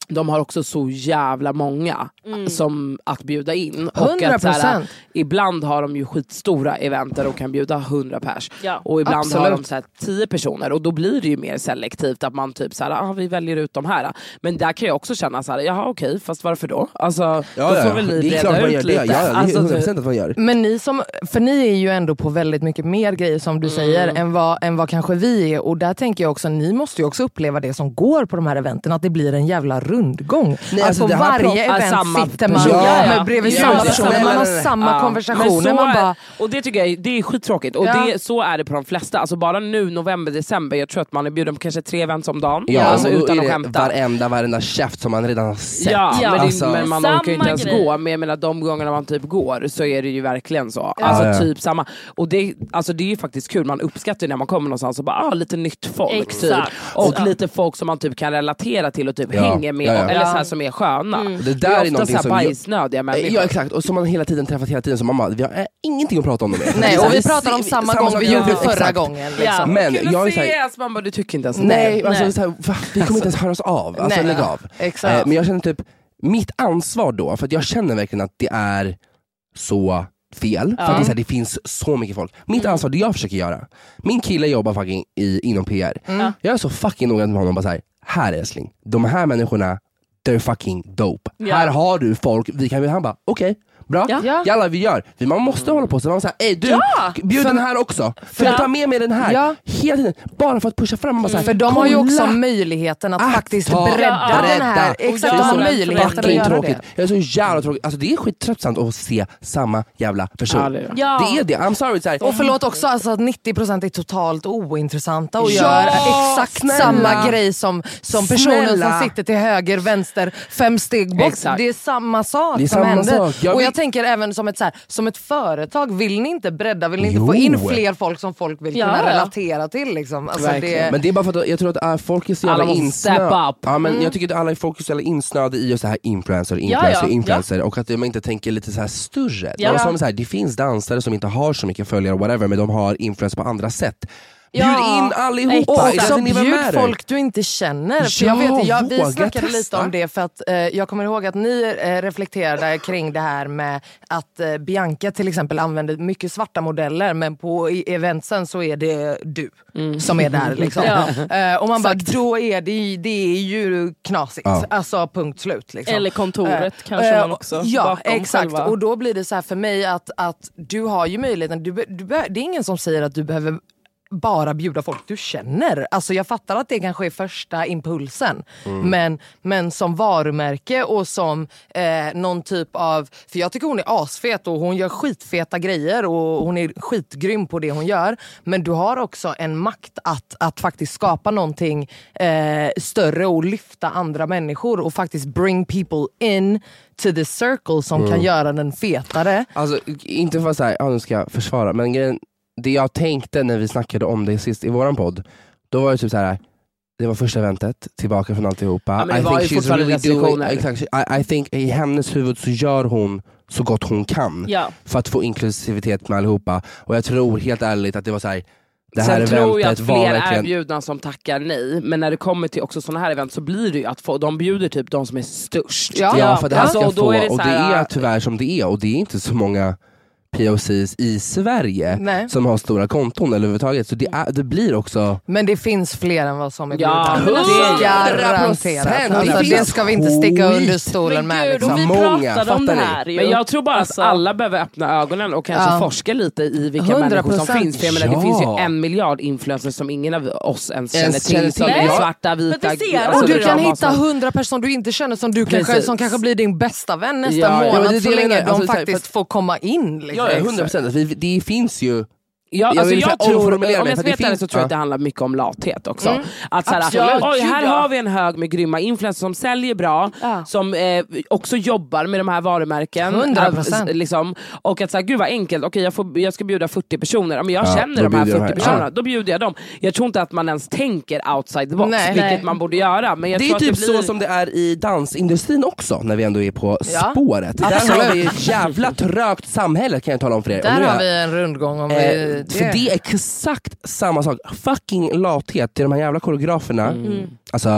de har också så jävla många som att bjuda in. Och att så här, 100%. ibland har de ju skitstora event där de kan bjuda 100 pers. Ja. Och ibland har de Absolut. så här 10 personer och då blir det ju mer selektivt att man typ så här, ah, vi väljer ut de här. Men där kan jag också känna så här, jaha okej, fast varför då? Alltså, då får väl ni det är klart reda man gör ut det. Ja, lite. ja, det är Alltså, 100% typ. att man gör. Men ni som, för ni är ju ändå på väldigt mycket mer grejer som Mm. du säger än vad, än vad kanske vi är. Och där tänker jag också, ni måste ju också uppleva det som går på de här eventen, att det blir en jävla rundgång. Nej, att alltså på det här varje pratar- event samma sitter man person. Ja, ja. med bredvid Ja, samma det är person, samma- man har Ja. samma Ja. Men konversationer. så Man är- bara, och det tycker jag är, det är skittråkigt. Och Ja. det, så är det på de flesta. Alltså bara nu november, december, jag tror att man är bjuden på kanske tre events om dagen. Ja, alltså och då utan är att det skämta. Varenda, varenda käft som man redan har sett. Ja, Ja. Men, det, Alltså- men man Samma orkar ju inte ens grej. gå. Men jag menar de gångerna man typ går så är det ju verkligen så. Alltså Ja, ja. typ samma. Och det, alltså, det är ju faktiskt kul, man uppskattar ju när man kommer någonstans och bara ah, lite nytt folk. Exakt. Typ. Och Ja. lite folk som man typ kan relatera till och typ Ja. hänger med. Ja, ja. Eller så här, som är sköna. Det där är är ofta någonting så här som jag- Eh, bajsnödiga människor. Ja exakt, och som man hela tiden träffat hela tiden som mamma, vi har eh, ingenting att prata om mer. Nej, och vi Så här, pratar om se- samma gång sak- vi gjorde Ja, förra exakt. gången. Ja. Liksom. Men Kul att jag är såhär, ses! Man bara, du tycker inte ens nej, alltså, Nej. Så här, va? vi kommer inte ens höras av. Alltså Nej. lägg av. Exakt. Eh, Men jag känner typ, mitt ansvar då, för att jag känner verkligen att det är så fel. För att det, är så här, det finns så mycket folk. Mitt Mm. ansvar, det jag försöker göra. Min kille jobbar fucking i, inom PR. Mm. Jag är så fucking noga med honom, bara så här, här älskling, de här människorna, they're fucking dope. Här har du folk, vi kan, han bara okej. Bra, Ja. jalla vi gör. Vi- Man måste hålla på så. Man säger ey du, bjud den här också. För jag tar med mig den här Ja. Mm. hela tiden. Bara för att pusha fram. Man bara så här, För de har ju kolla. också möjligheten att, Att faktiskt ta- bredda, Ja, den här. bredda. Exakt, Och de har göra möjligheten att Fucking göra tråkigt. det. Jag är så jävla tråkigt. Alltså det är skittröttsamt att se samma jävla person. Ja, det är det. Ja. Det är det. I'm sorry. Så här, Och förlåt också alltså att 90% är totalt ointressanta och Mm. Ja, gör exakt snälla. samma grej som, som personen Snälla. som sitter till höger, vänster, fem steg bort. Exakt. Det är samma sak Det är som samma händer. sak. Jag och vill- jag tänker även som ett, så här, som ett företag, vill ni inte bredda, vill ni inte Jo. få in fler folk som folk vill Ja, kunna ja. relatera till? Liksom? Alltså, Verkligen. det... Men det är bara för att jag tror att äh, folk är så jävla Alla måste insnö- step up. Ja, men Mm. Jag tycker att alla är folk är så jävla insnöade i just det här influencer, influencer, ja, influencer och att man inte tänker lite så här större. Ja. De som så här, det finns dansare som inte har så mycket följare whatever men de har influencer på andra sätt. Bjud Ja, in allihopa! exakt. Och it också doesn't even bjud matter. folk du inte känner. För Ja, jag vet, jag, våga vi snackade lite testa. om det för att eh, jag kommer ihåg att ni eh, reflekterade kring det här med att eh, Bianca till exempel använder mycket svarta modeller men på i- eventsen så är det du Mm. som är där. Liksom. Eh, och man bara, då är det, ju- det är ju knasigt. Ja. Alltså punkt slut. Liksom. Eller kontoret Eh, kanske eh, man också. Ja bakom exakt själva. och då blir det så här för mig att, att du har ju möjligheten, du, be- du, be- det är ingen som säger att du behöver bara bjuda folk du känner. Alltså jag fattar att det kanske är första impulsen. Men, men som varumärke och som eh, någon typ av... För jag tycker hon är asfet och hon gör skitfeta grejer och hon är skitgrym på det hon gör. Men du har också en makt att, att faktiskt skapa någonting eh, större och lyfta andra människor och faktiskt bring people in to the circle som kan göra den fetare. Alltså inte för att säga, ja, nu ska jag försvara, men grejen, det jag tänkte när vi snackade om det sist i våran podd, då var det typ så här. Det var första eventet, tillbaka från alltihopa. Ja, men det var ju fortfarande doing, restriktioner. exakt, I, I think i hennes huvud så gör hon så gott hon kan Ja. för att få inklusivitet med allihopa. Och jag tror helt ärligt att det var så här. det här Sen tror jag att eventet var fler är verkligen... bjudna som tackar nej, men när det kommer till också sådana här event så blir det ju att få, de bjuder typ de som är störst. Ja, för det här ska Alltså, jag och då få, är det och det så här, är tyvärr som det är och det är inte så många POCs i Sverige Nej. som har stora konton eller överhuvudtaget. Så det, är, det blir också... Men det finns fler än vad som är Ja, bjudna. hundra Det är procent. garanterat. Det Alltså, det finns ska vi inte sticka skit. under stolen med. Gud, och Liksom. vi Många, pratade om det fattar ni? här ju. Men jag tror bara Alltså- att alla behöver öppna ögonen och kanske Ja. forska lite i vilka 100%. människor som finns. För jag menar, Ja. Det finns ju en miljard influencers som ingen av oss ens känner Ens till. känner som till. är Nej. svarta, vita, Men det ser alltså, Och du det kan de har hitta sån- hundra personer du inte känner som, du kanske, Precis. som kanske blir din bästa vän nästa Ja, ja. månad Ja, men det är det så jag länge menar. de Alltså, så här, faktiskt för- får komma in. Liksom. Ja, 100 procent. Alltså, Det finns ju... Ja, alltså vill så jag här tror, om omformulera jag mig, ska för det veta det finns- så tror jag ja. Mm. att det handlar mycket om lathet också. Att så Absolut. här, Oj, här Ja. har vi en hög med grymma influencers som säljer bra, Ja. som eh, också jobbar med de här varumärken. 100%. Äh, liksom, och att så här, gud vad enkelt, okej jag, får, jag ska bjuda 40 personer, Ja, men jag Ja, känner då de här bjuder jag 40 de här. personerna, Ja. då bjuder jag dem. Jag tror inte att man ens tänker outside the box, Nej. vilket Nej. man borde göra. Men jag Det är tror typ att det blir... så som det är i dansindustrin också, när vi ändå är på Ja. spåret. Där Absolut. har vi ett jävla trögt samhälle kan jag tala om för er. Och Där nu är har jag- vi en rundgång. Om vi, Eh, för det är exakt samma sak. Fucking lathet till de här jävla koreograferna. Mm. Alltså,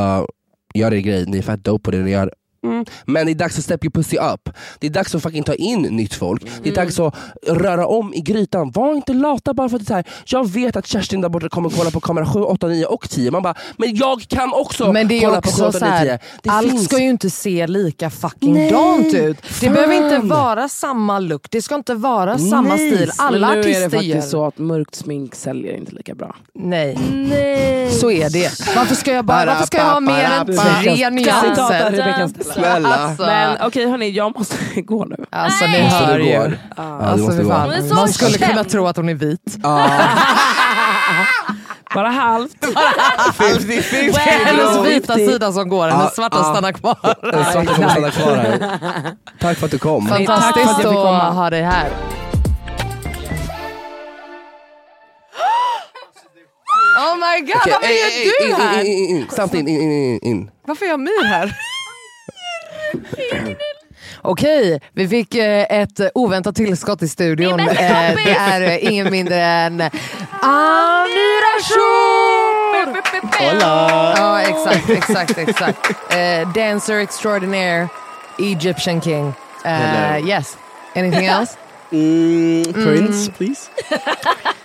gör er grej, ni är fett dope på det ni gör. Mm. Men det är dags att step your pussy up. Det är dags att fucking ta in nytt folk. Mm. Det är dags att röra om i grytan. Var inte lata bara för att det är så här. jag vet att Kerstin där borta kommer kolla på kamera 7, 8, 9 och 10. Man bara, men jag kan också Men det är ju kolla på 7, också 8, så 9, här, 10. Det allt finns- ska ju inte se lika fucking Nej, dant ut. Det fan. behöver inte vara samma look, det ska inte vara samma Nej, stil. Men Alla nu är det artister faktiskt gör... så att mörkt smink säljer inte lika bra. Nej. så är det. Varför ska jag, bara, varför ska jag ha mer än tre Citat av nyanser? Rebecca Stella. Snälla. Alltså, Men okej hörni, jag måste gå nu. alltså ni Nej. hör det ju. går. Ja, det Alltså, måste fy gå. fan. Hon är så Man skulle kunna känd. tro att hon är vit. Bara halvt. Hennes Wow. vita sida som går, hennes Ja, svarta ja. stannar kvar. Den svarta kommer stanna kvar här. Tack för att du kom. tack för att Fantastiskt jag fick komma. att ha dig här. Oh my god, Okej, varför ey, är ey, du in, här? In, in, in, in. Samtidigt, in, in, in, in. Varför är jag myr här? Okej, vi fick eh, ett oväntat tillskott i studion. Min bästa Eh, kompis! det är eh, ingen mindre än Amira Shor! Ja, exakt, exakt, exakt. Eh, dancer extraordinaire, Egyptian king. Eh, yes, anything else? Mm, Prince, please.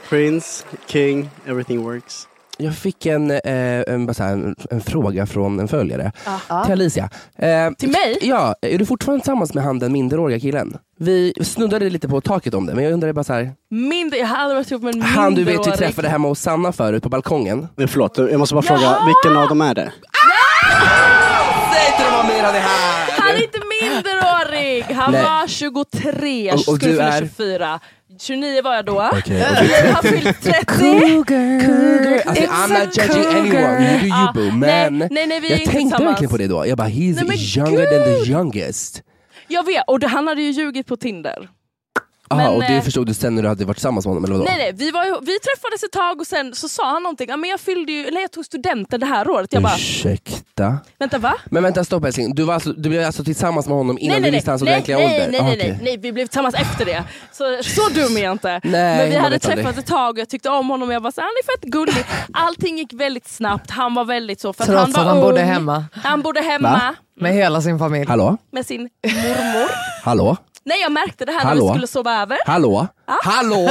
Prince, King, everything works. Jag fick en, eh, en, bara så här, en, en fråga från en följare. Till Alicia. Eh, Ah. Till mig? Ja, är du fortfarande tillsammans med han den minderåriga killen? Vi snuddade lite på taket om det, men jag undrar bara så här. Mindre, jag har aldrig varit ihop med en mindre Han du vet vi träffade hemma hos Sanna förut på balkongen. Men förlåt, jag måste bara Ja! fråga, vilken av dem är det? Säg inte det var mer av det här! Han är inte minderårig! Han Nej. var 23, Och- och skulle du fylla är? 24. 29 var jag då. Okej, Jag har fyllt 30. Alltså, I'm not judging anyone, you do you Ah, boo. nej, Men nej, nej, vi är jag tänkte inte tillsammans. verkligen på det då. Jag bara, he's Nej, men younger than the youngest. Jag vet, och det- han hade ju ljugit på Tinder. Jaha, Men, Ah, och det eh, förstod du sen när du hade varit tillsammans med honom eller vadå? Nej, nej, vi, var, ju- vi träffades ett tag och sen så sa han någonting. Ja, men jag, fyllde ju, nej, jag tog studenten det här året. Jag bara, Ursäkta? vänta va? Men vänta stopp älskling, du, var alltså, du blev alltså tillsammans med honom innan nej, du nej, visste hans nej, ordentliga nej, nej, ålder? nej, Ah, nej, okej. nej, vi blev tillsammans efter det. Så, så dum är jag inte. Nej, Men vi man hade vet aldrig. träffats ett tag och jag tyckte om honom. Jag var så här, han är fett gullig. Allting gick väldigt snabbt. Han var väldigt så. För att Trots han var att han ung. bodde hemma. Han bodde hemma Med hela sin familj. Hallå? med sin mormor. Hallå? Nej jag märkte det här när Hallå? vi skulle sova över. Hallå? Hallå?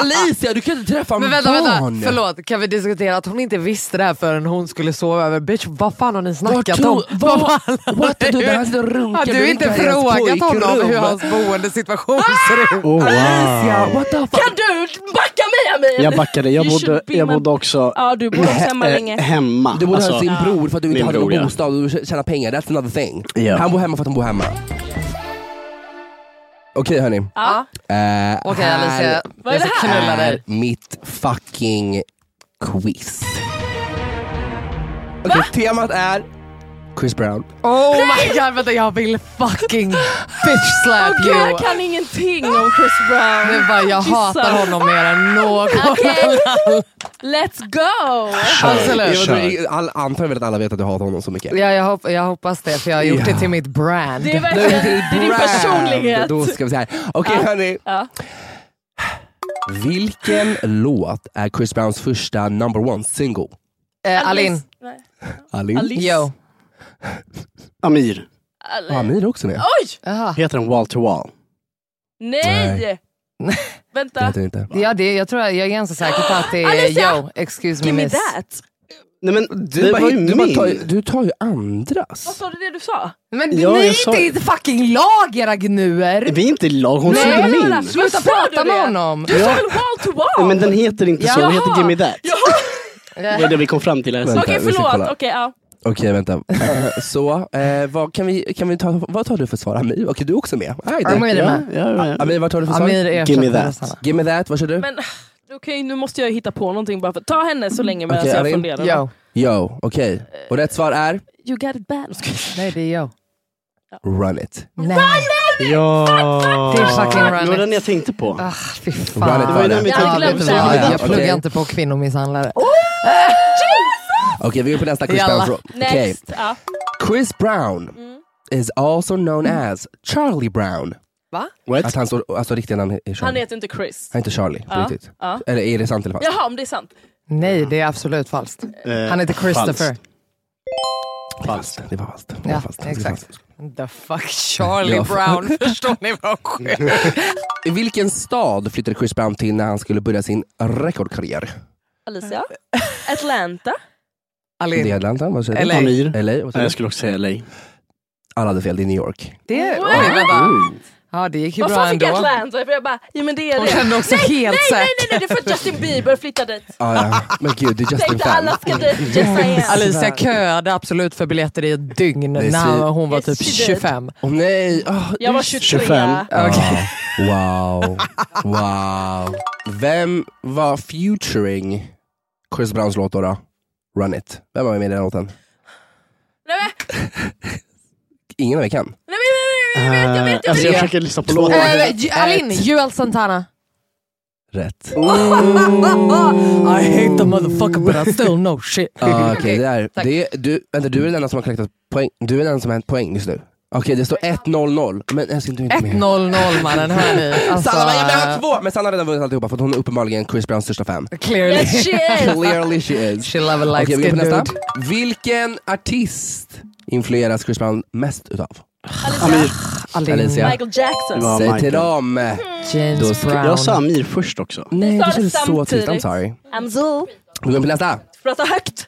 Alicia, du kan inte träffa Men vänta, barn! vänta, förlåt. Kan vi diskutera att hon inte visste det här förrän hon skulle sova över? Bitch, vad fan har ni Vad snackat tror- om? vad- Vad fan- what? Du, det här är så runkigt. Har Du du inte vet inte ens frågat honom pojkrum. hur hans boendesituation ser ut? Oh, Alicia, what the fuck? Kan du backa mig Amir? Jag backade, jag You should bodde, be jag my- bodde också Ja, du bor hemma eh, länge. hemma. Du bor hos Alltså, din bror för att du inte Min hade bror, någon ja. bostad och du tjänar pengar. That's another thing. Ja. Han bor hemma för att han bor hemma. Okej hörni. Uh, Ja. Okej Alicia, Vad är det jag ska här? knulla dig. mitt fucking quiz. Okej, temat är Chris Brown. Oh my god, vänta jag vill fucking bitch slap Åh, gud, you. jag kan ingenting om Chris Brown. Det är bara, jag Kissa. hatar honom mer än någon. Okej, let's go! Absolut. Jag tror- all- antar väl att alla vet att du hatar honom så mycket. Ja, jag, hop- jag hoppas det för jag har gjort Ja. det till mitt brand. Det är Nu är verkligen det det är din brand. personlighet. Då ska vi se här. Okej hörni. Ja. Vilken låt är Chris Browns första number one single? Eh, Alin, Nej. Alin? Alice. yo. Amir. Ja, Alin. Amir är också med. Oj! Jaha. Heter den Wall to Wall? Nej! Det Vänta. heter den inte. Ja, det, jag, tror, jag är ganska säker på att det Alicia! är yo, excuse me Give me miss. that. Nej men Du, det bara, var ju du, bara min. tar, du tar ju andras. Vad sa du det du sa? Men Ja, ni jag är sa- inte i ett fucking lag era gnuer! Vi är inte i lag, hon Nej, säger men min. alla- Sluta Vad sa prata du med det? honom! Du sa väl wall to Nej, wall? Men den heter inte så, den heter Gimme That. Det är det vi kom fram till. alltså. Men- Här. Okej Vänta, vi ska förlåt, kolla. okej ja. Okej vänta. så, eh, vad, kan vi, kan vi ta, vad tar du för svar Amir? Okej du är också med. Right. Amir är Ja, med. ja, ja. Amir vad tar du för svar? Amir är Give me ersättare, that. Sanna. Give me that, vad kör du? Men okej nu måste jag hitta på någonting bara för ta henne så länge medan Okej, jag Alin. funderar. Yo. Yo, okej. Eh, Och rätt svar är? You got it bad. Nej det är yo. Run it. Nej. Ja. Det är fucking run Det var den it. jag tänkte på. Ah, fy Run it fan. var det. vi Jag Ja, glömde vet du det. vad? Ja, Jag okej. pluggar inte på kvinnomisshandlare. Okej vi går på nästa Chris Jalla. Brown fråga. Okej. Next. Mm. Ja. Chris Brown is also known as Charlie Brown. Att What? han står, alltså riktiga namn är Charlie. Han heter inte Chris. Han heter Charlie på Ja, riktigt. ja. Eller är det sant eller falskt? Jaha om det är sant. Nej det är absolut Eh, falskt. Han heter Christopher. Falskt. Det var falskt. Det var Ja, falskt. Det var exakt. falskt. The fuck Charlie Ja. Brown, förstår ni vad hon skäller? I vilken stad flyttade Chris Brown till när han skulle börja sin rekordkarriär? Alicia. Atlanta. Det är Alin, Atlanta, vad säger LA. du? Amir. LA, vad Ja, säger Jag du? skulle också säga LA. Alla hade fel, det är New York. det, oj, vänta. Ja det gick ju Varför bra fan fick jag ändå. Atlanta? För jag bara, ja men det är Hon det. kände också helt Nej, nej, säker. nej, nej, det är för att Justin Bieber flyttade dit. Ah, ja. Men gud, det är Justin Tänkte fan. alla ska dit, just saying. Alicia köade absolut för biljetter i ett dygn Det är när svin- hon var Det är typ svin- 25. Åh nej! ah, Jag var det- 23. 25. Ah, Wow, wow. Vem var featuring Chris Browns låt då? då? Run it. Vem var med i den låten? Nej, men, Ingen av er kan. nej, men, nej, men, jag vet, jag vet, jag Alltså vet. jag försöker lyssna på Två. låten. Äh, Eh, Ju- Alin, Joel Santana. Rätt. I hate the motherfucker but I still know shit. Ah, Okej, det där. tack. Det, du, vänta, du är den enda som har kläckt poäng. Du är den enda som har hänt poäng just nu. Okej, det står 1-0-0. Men älskling, du är inte med. 1-0-0 mannen, hör ni? Alltså, Sanna, men jag behöver två! Men Sanna har redan vunnit alltihopa för att hon är uppenbarligen Chris Browns största fan. clearly. Yes, she is. Clearly she is. She love a Okej, light vi går på skin nästa. dude. Vilken artist influeras Chris Brown mest utav? Amir. Alin, Alicia. Michael Jackson. Ja, Säg till Michael. dem! Då James ska- Brown. Jag sa Amir först också. Nej, sa det det kändes så tyst. I'm samtidigt. sorry. I'm so. Vi går in på nästa. Prata högt.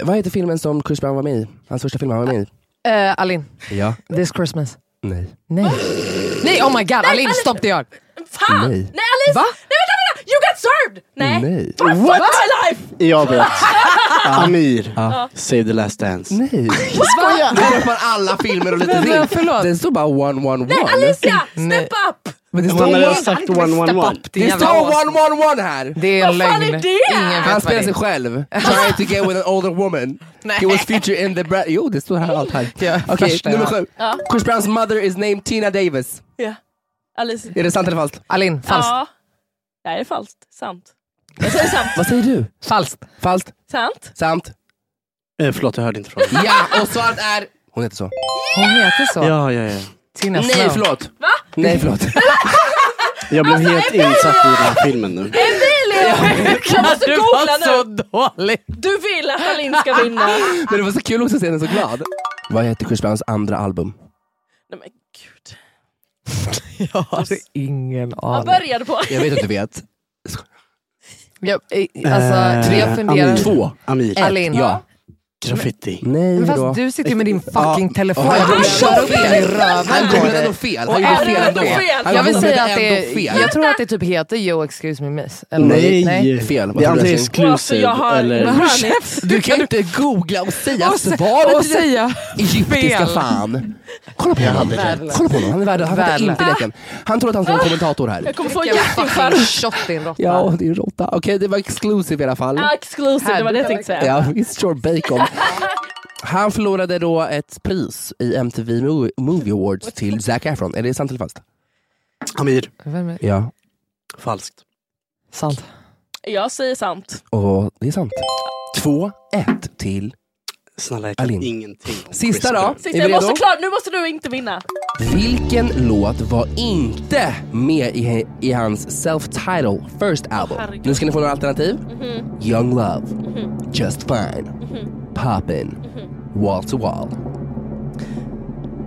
Eh, vad heter filmen som Chris Brown var med i? Hans första film han var med Eh, Alin, i? Ja. this Christmas. Nej. Nej. Nej, oh my god. Alin, stop the yard. Fan! Nej. Nej, Alice! Va? Nej, vänta, vänta! You got served! Nej. Nej. Fan, fuck my life! Jag vet. Amir. Save the last dance. Nej. Skojar! Nu drar man alla filmer och lite Men, men, till. förlåt. Det står bara one, one, one. Alicia, Nej. step up! Men det står Han har redan one, sagt one, one, one. det står one, one, one här. Det är en Vad fan lögn. är det? Ingen Han vet vad spelar det sig är. själv. Trying to get with an older woman. He was featured in the... Bra- jo, det står här allt här. Ja, Okej, första, nummer ja. sju. Ja. Chris Browns mother is named Tina Davis. Ja. Alice. Är det sant eller falskt? Alin, falskt. Ja. Nej, det är falskt. Sant. Jag säger sant. Vad säger du? Falskt. Falskt? Sant. Sant? Eh, Förlåt, jag hörde inte frågan. Ja, och svaret är... Hon heter så. Hon heter så. Ja, ja, ja. Tina Nej, Snow. förlåt. Va? Nej, förlåt. Jag blev helt insatt i den här filmen nu. Emilia! Jag måste Du googla var så nu. dålig. Du vill att Alin ska vinna. Nej Men det var så kul också att se henne så glad. Vad heter Chris Browns andra album? men gud. Jag har Alltså, ingen Vad aning. började på? Jag vet att du vet. Jag, eh, alltså, tre jag funderar... Amir. Två. Amir. Elin. Ja. Graffiti. Nej Men då. Fast du sitter ju med din fucking telefon. han gjorde kör upp den i röven. Han gjorde ändå fel. Han gjorde fel ändå. ändå fel. Han Jag vill gjorde säga att det ändå fel. är, jag tror att det typ heter Yo excuse me miss. Eller Nej. nej. Fel, vad Det är tror du, antingen Yasin? Och alltså, exclusive jag har eller... Hör ni? Du kan inte googla och säga Och se- svaret och till den säga egyptiska fel. fan. Kolla på honom. Värdelös. Kolla på honom. Han är värdelös. Han fattar Värdelös. Ah. inte leken. Han tror att han ska vara kommentator här. Jag kommer få Vilken hjärtinfarkt. fucking shot din råtta. Ja, det är en råtta. Okej, det var exclusive i alla fall. Exclusive, det var det jag tänkte säga. Ja, it's your bacon. Han förlorade då ett pris i MTV Mo- Movie Awards till Zac Efron. Är det sant eller falskt? Amir. Vem är- Ja. Falskt. Sant. Jag säger sant. Och det är sant. 2-1 till... Snälla jag kan Alin. ingenting om Sista Chris då. Brown. Sista, Är jag vi måste redo? klara, nu måste du inte vinna. Vilken låt var inte med i, i hans self-title first album? herregud. Mhm. nu ska ni få några alternativ. Young Love, Just Fine, Poppin, Mhm. Wall to Wall.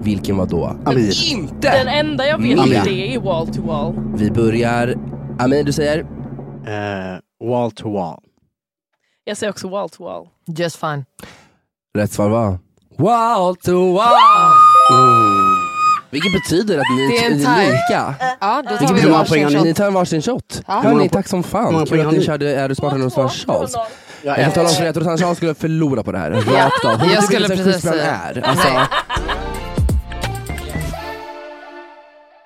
Vilken var då? Amir. Inte! Den enda jag vet Mia. är det är wall to wall. Vi börjar... Amir, du säger? Eh, wall to wall. Jag säger också wall to wall. Just fine. Rätt svar var... Wall to wall! Mm. Vilket betyder att ni Det är är en tie. lika. Ja, då tar Vilket vi betyder många att varsin poäng har shot. ni tar en varsin shot. Hur många Hörni, po- tack som hur många fan. Kul poäng att har ni ni? körde Är du smartare än Oscar Charles. Jag Jag kan tala om älskar- för dig att Rosanna Charles skulle förlora på det här. Rakt av. Hon Jag vet skulle inte ens vem Chris precis Brown säga. är. Alltså,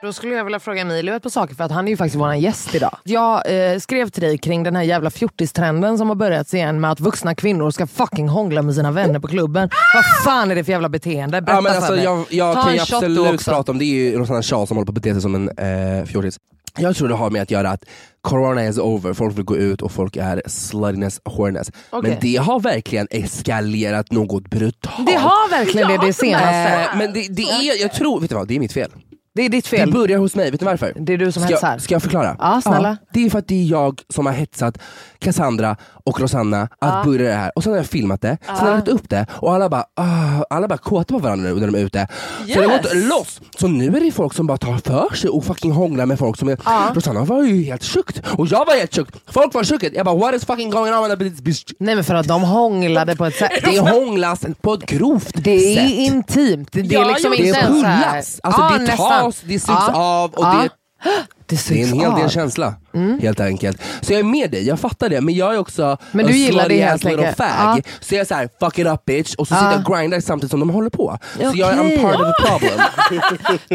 Då skulle jag vilja fråga Emilio ett par saker för att han är ju faktiskt vår gäst idag. Jag eh, skrev till dig kring den här jävla fjortistrenden som har börjat igen med att vuxna kvinnor ska fucking hångla med sina vänner på klubben. Vad fan är det för jävla beteende? Berätta ja, men alltså, för mig. jag jag Ta kan en ju shot du absolut också. prata om, det är ju Rosanna Charles som håller på att bete sig som en eh, fjortis. Jag tror det har med att göra att corona is over, folk vill gå ut och folk är sluttiness, horniness. Okej. Men det har verkligen eskalerat något brutalt. Det har verkligen det, det senaste. Eh, men det, det är, jag tror, vet du vad, det är mitt fel. Det är ditt Det fel. börjar hos mig, vet du varför? Mm. Det är du som ska, hetsar. Ska jag förklara? Ja, snälla. det är för att det är jag som har hetsat Cassandra och Rosanna att börja det här. Och sen har jag filmat det, sen har jag lagt upp det och alla bara, ah, alla bara kåta på varandra nu när de är ute. Så det har gått Yes. loss. Så nu är det folk som bara tar för sig och fucking hånglar med folk som är, Rosanna var ju helt sjukt och jag var helt sjukt. Folk var sjukt. Jag bara what is fucking going on with this bitch? Nej men för att de hånglade på ett sätt. Det hånglas på ett grovt Det är sätt. intimt. Det, det Ja, är liksom jo, det inte är ens såhär... pullas. Alltså Ja, det tas, nästan. det sugs Ja. av och Ja. det Det Det är sugs en hel del av. känsla, Mm. helt enkelt. Så jag är med dig, jag fattar det. Men jag är också Men du a gillar slutty det ass helt little enkelt. fag. Ja. Så jag är såhär, fuck it up bitch. Och så sitter jag och grindar samtidigt som de håller på. Så jag är Okej. I'm part of the problem.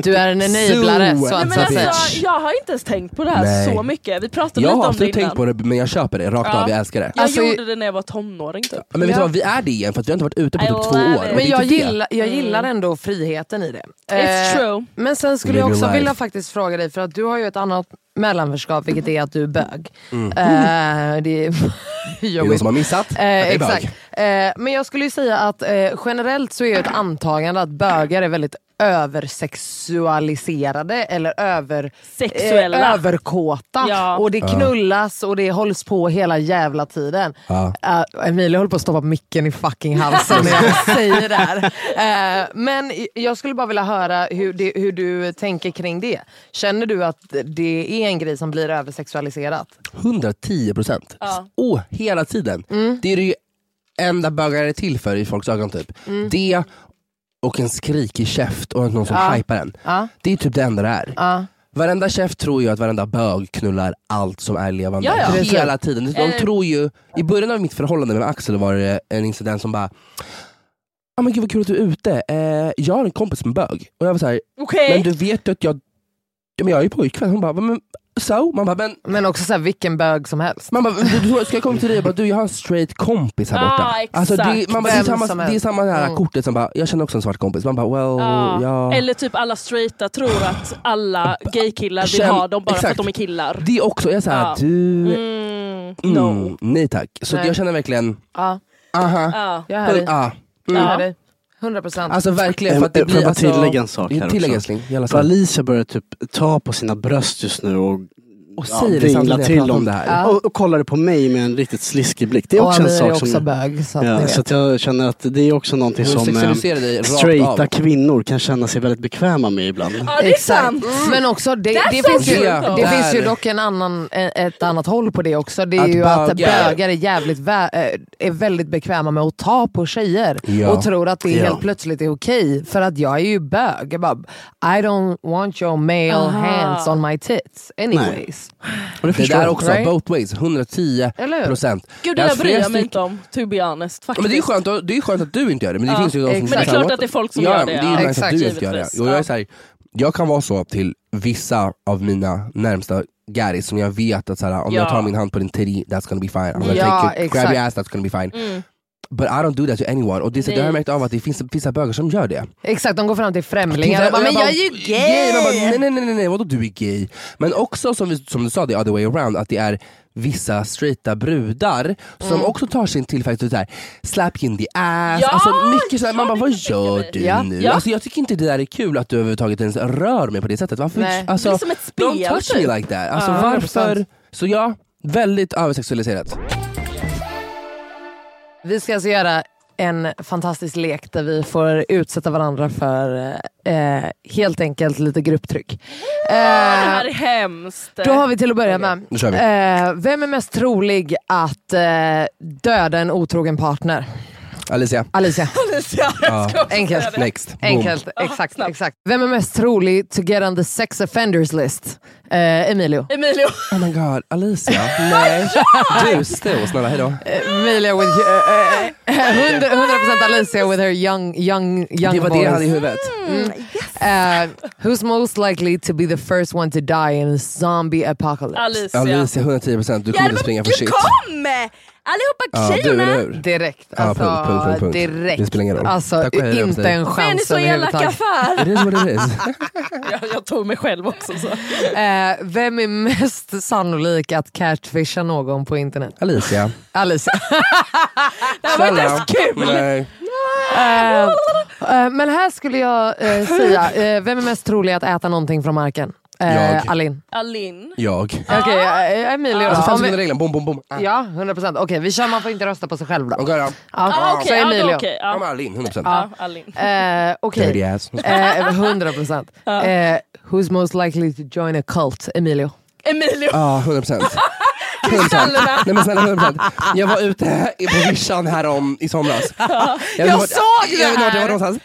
Du är en enablare Zoo. så Nej, att men säga. alltså, jag har inte ens tänkt på det här Nej. så mycket. Vi pratade jag har lite om det innan. absolut tänkt på det men jag köper det rakt Ja. av, jag älskar det. Jag Alltså, gjorde det när jag var tonåring typ. Men vet du Ja. vad, vi är det igen för att vi har inte varit ute på I typ två love it. år. Och det Men är jag inte det. gillar, jag gillar ändå friheten i det. Mm. It's Eh, true. Men sen skulle Live jag your också life. vilja faktiskt fråga dig, för att du har ju ett annat mellanförskap vilket är att du är bög. Eh, det är Mm. Det är någon som har missat? att Eh, jag är bög. exakt. Eh, men jag skulle ju säga att eh, generellt så är ju ett antagande att bögar är väldigt översexualiserade eller över, eh, Sexuella. överkåta. Ja. Och det knullas och det hålls på hela jävla tiden. Ja. Eh, Emilia håller på att stoppa micken i fucking halsen när jag säger det här. Eh, men jag skulle bara vilja höra hur, det, hur du tänker kring det. Känner du att det är en grej som blir översexualiserat? 110 procent. Ja. Åh, hela tiden. Mm. Det är det ju enda bögar är till för i folks ögon. Typ. Mm. Det och en skrikig käft och någon som hypar en. Ja. Det är typ det enda det är. Ja. Varenda chef tror ju att varenda bög knullar allt som är levande. Ja, ja. Hela tiden. De Eller- tror ju, I början av mitt förhållande med Axel var det en incident som bara ah, men Gud vad kul att du är ute, eh, jag har en kompis som är bög. Och jag var såhär, Okej. men du vet ju att jag, men jag är ju pojkvän. Hon bara, men so? Man bara, men Men också så här, vilken bög som helst. man bara, du, du, ska jag komma till dig och bara, du jag har en straight kompis här borta. Ah, exakt. alltså, det, man bara, det, är Vem samma, som det är helst. samma här Mm. kortet som bara, jag känner också en svart kompis. Man bara, well, Ja. oh, ja. Eller typ alla straighta tror att alla gaykillar vill Känn- ha dem bara för exakt. att de är killar. Det också, jag är såhär, Ja. du, mm, Mm, no. nej tack. Så Nej. jag känner verkligen, Ja, aha, Ja. jag hör dig. mm, ah. Jag Mm. hör dig. 100 procent. Alltså verkligen. Eh, För att det får jag blir, bara alltså, tillägga en sak här Tillägg också? älskling, jävla För sak. Alicia börjar typ ta på sina bröst just nu och Och ja, säger det vingla samtidigt som jag till pratar om dem. det här. Och, och kollade på mig med en riktigt sliskig blick. Det är och också en Amir är sak också som... bög. Så att ni Ja, vet. så att jag känner att det är också någonting Hon som eh, sexualiserar dig rakt straighta av. kvinnor kan känna sig väldigt bekväma med ibland. Ja, det är sant. Men också, det, Mm. That's det, so finns, ju, true, det though. finns ju Där. dock en annan, eh, ett annat håll på det också. Det är Att ju att bögar- bögar är, jävligt vä- eh, är väldigt bekväma med att ta på tjejer Ja. och tror att det Ja. helt plötsligt är okej. För att jag är ju bög. Jag bara, I don't want your male hands on my tits anyways. Och det förstår där jag. också, Right? both ways, 110 Eller hur? procent. Gud, det Jag har där bryr flera jag mig styck- inte om, to be honest. Faktiskt. Men det är, skönt, att- det är skönt att du inte gör det, men det Ja, finns ju de som exakt. säger Men det är så här, klart "Låt- att det är folk som ja, gör det, Det är ja. nice Exakt. att du inte gör det. Givetvis, Och jag, är ja. så här, jag kan vara så till vissa av mina närmsta gäris som jag vet att så här, om jag Ja. tar min hand på din titty, that's gonna be fine. I'm gonna Ja, take it, grab exakt. your ass, that's gonna be fine. But I don't do that to anyone. Och det, är så- det har jag Mm. Nej. märkt av att det finns vissa bögar som gör det. Exakt, de går fram till Till främlingar så och bara, här- men jag är ju gay! Man bara, gay! nej, nej, nej, nej, nej, vadå du är gay? Men också som, vi, som du sa, the other way around, att det är vissa straighta brudar som Mm. också tar sin tillfälle till så här, slap you in the ass, Ja, alltså mycket så här, man ja, bara det vad kan jag tänka gör mig. du Ja, nu? ja. Alltså jag tycker inte det där är kul att du överhuvudtaget ens rör mig på det sättet. Varför? Nej. Alltså, Det är som ett spel, Don't touch typ. me like that. Alltså Ja, 100%. varför? Så ja, väldigt översexualiserat. Vi ska alltså göra en fantastisk lek där vi får utsätta varandra för eh, helt enkelt lite grupptryck. Det Eh, här är hemskt. Då har vi till att börja med. Nu kör vi. Eh, vem är mest trolig att eh, döda en otrogen partner? Alicia, Alicia. Ja. Enkelt. next. Boom. Enkelt. Exakt, exakt. Vem är mest trolig to get on the sex offenders list? Eh, Emilio. Emilio, Oh my god, Alicia. nej. Du, still, snälla hejdå. Emilio with... eh, eh, 100, 100% Alicia with her young, young, young Det var det boys. jag hade i huvudet. Uh, who's most likely to be the first one to die in a zombie apocalypse? Alicia. Alicia, 110 procent. Du kommer inte springa för shit. kom! Allihopa Ja, du, eller hur? Direkt. Ja, Alltså, punkt, punkt, punkt, punkt. direkt. Det spelar ingen roll. Alltså, Tack och hej, jag inte säger. en Men ni är chans så elaka överhuvudtaget. för. It is what it is. Jag, jag tog mig själv också. Så. Eh, vem är mest sannolik att catfisha någon på internet? Alicia. Alice. Det här var inte ens kul. Nej. Eh, eh, men här skulle jag eh, säga, eh, vem är mest trolig att äta någonting från marken? Eh, Jag. Alin. Alin. Jag. Ah. Okej, eh, Emilio Alltså då. Om fanns vi- inte regeln. Bom, bom, bom. Ah. Ja, 100 procent. Okej, vi kör. Man får inte rösta på sig själv då. Okej då. Ja, Ah, Så okej, ja, Emilio. då okej. Ja, Ja, men Alin, 100 procent. ja, Alin. Eh, Okej. Dirty ass. Eh, 100 procent. Eh, who's most likely to join a cult? Emilio. Emilio. Ja, 100 procent. Nej men snälla 100 procent. Jag var ute i- på vischan här om i somras. Jag, jag såg det Jag vet inte vart jag här! var någonstans.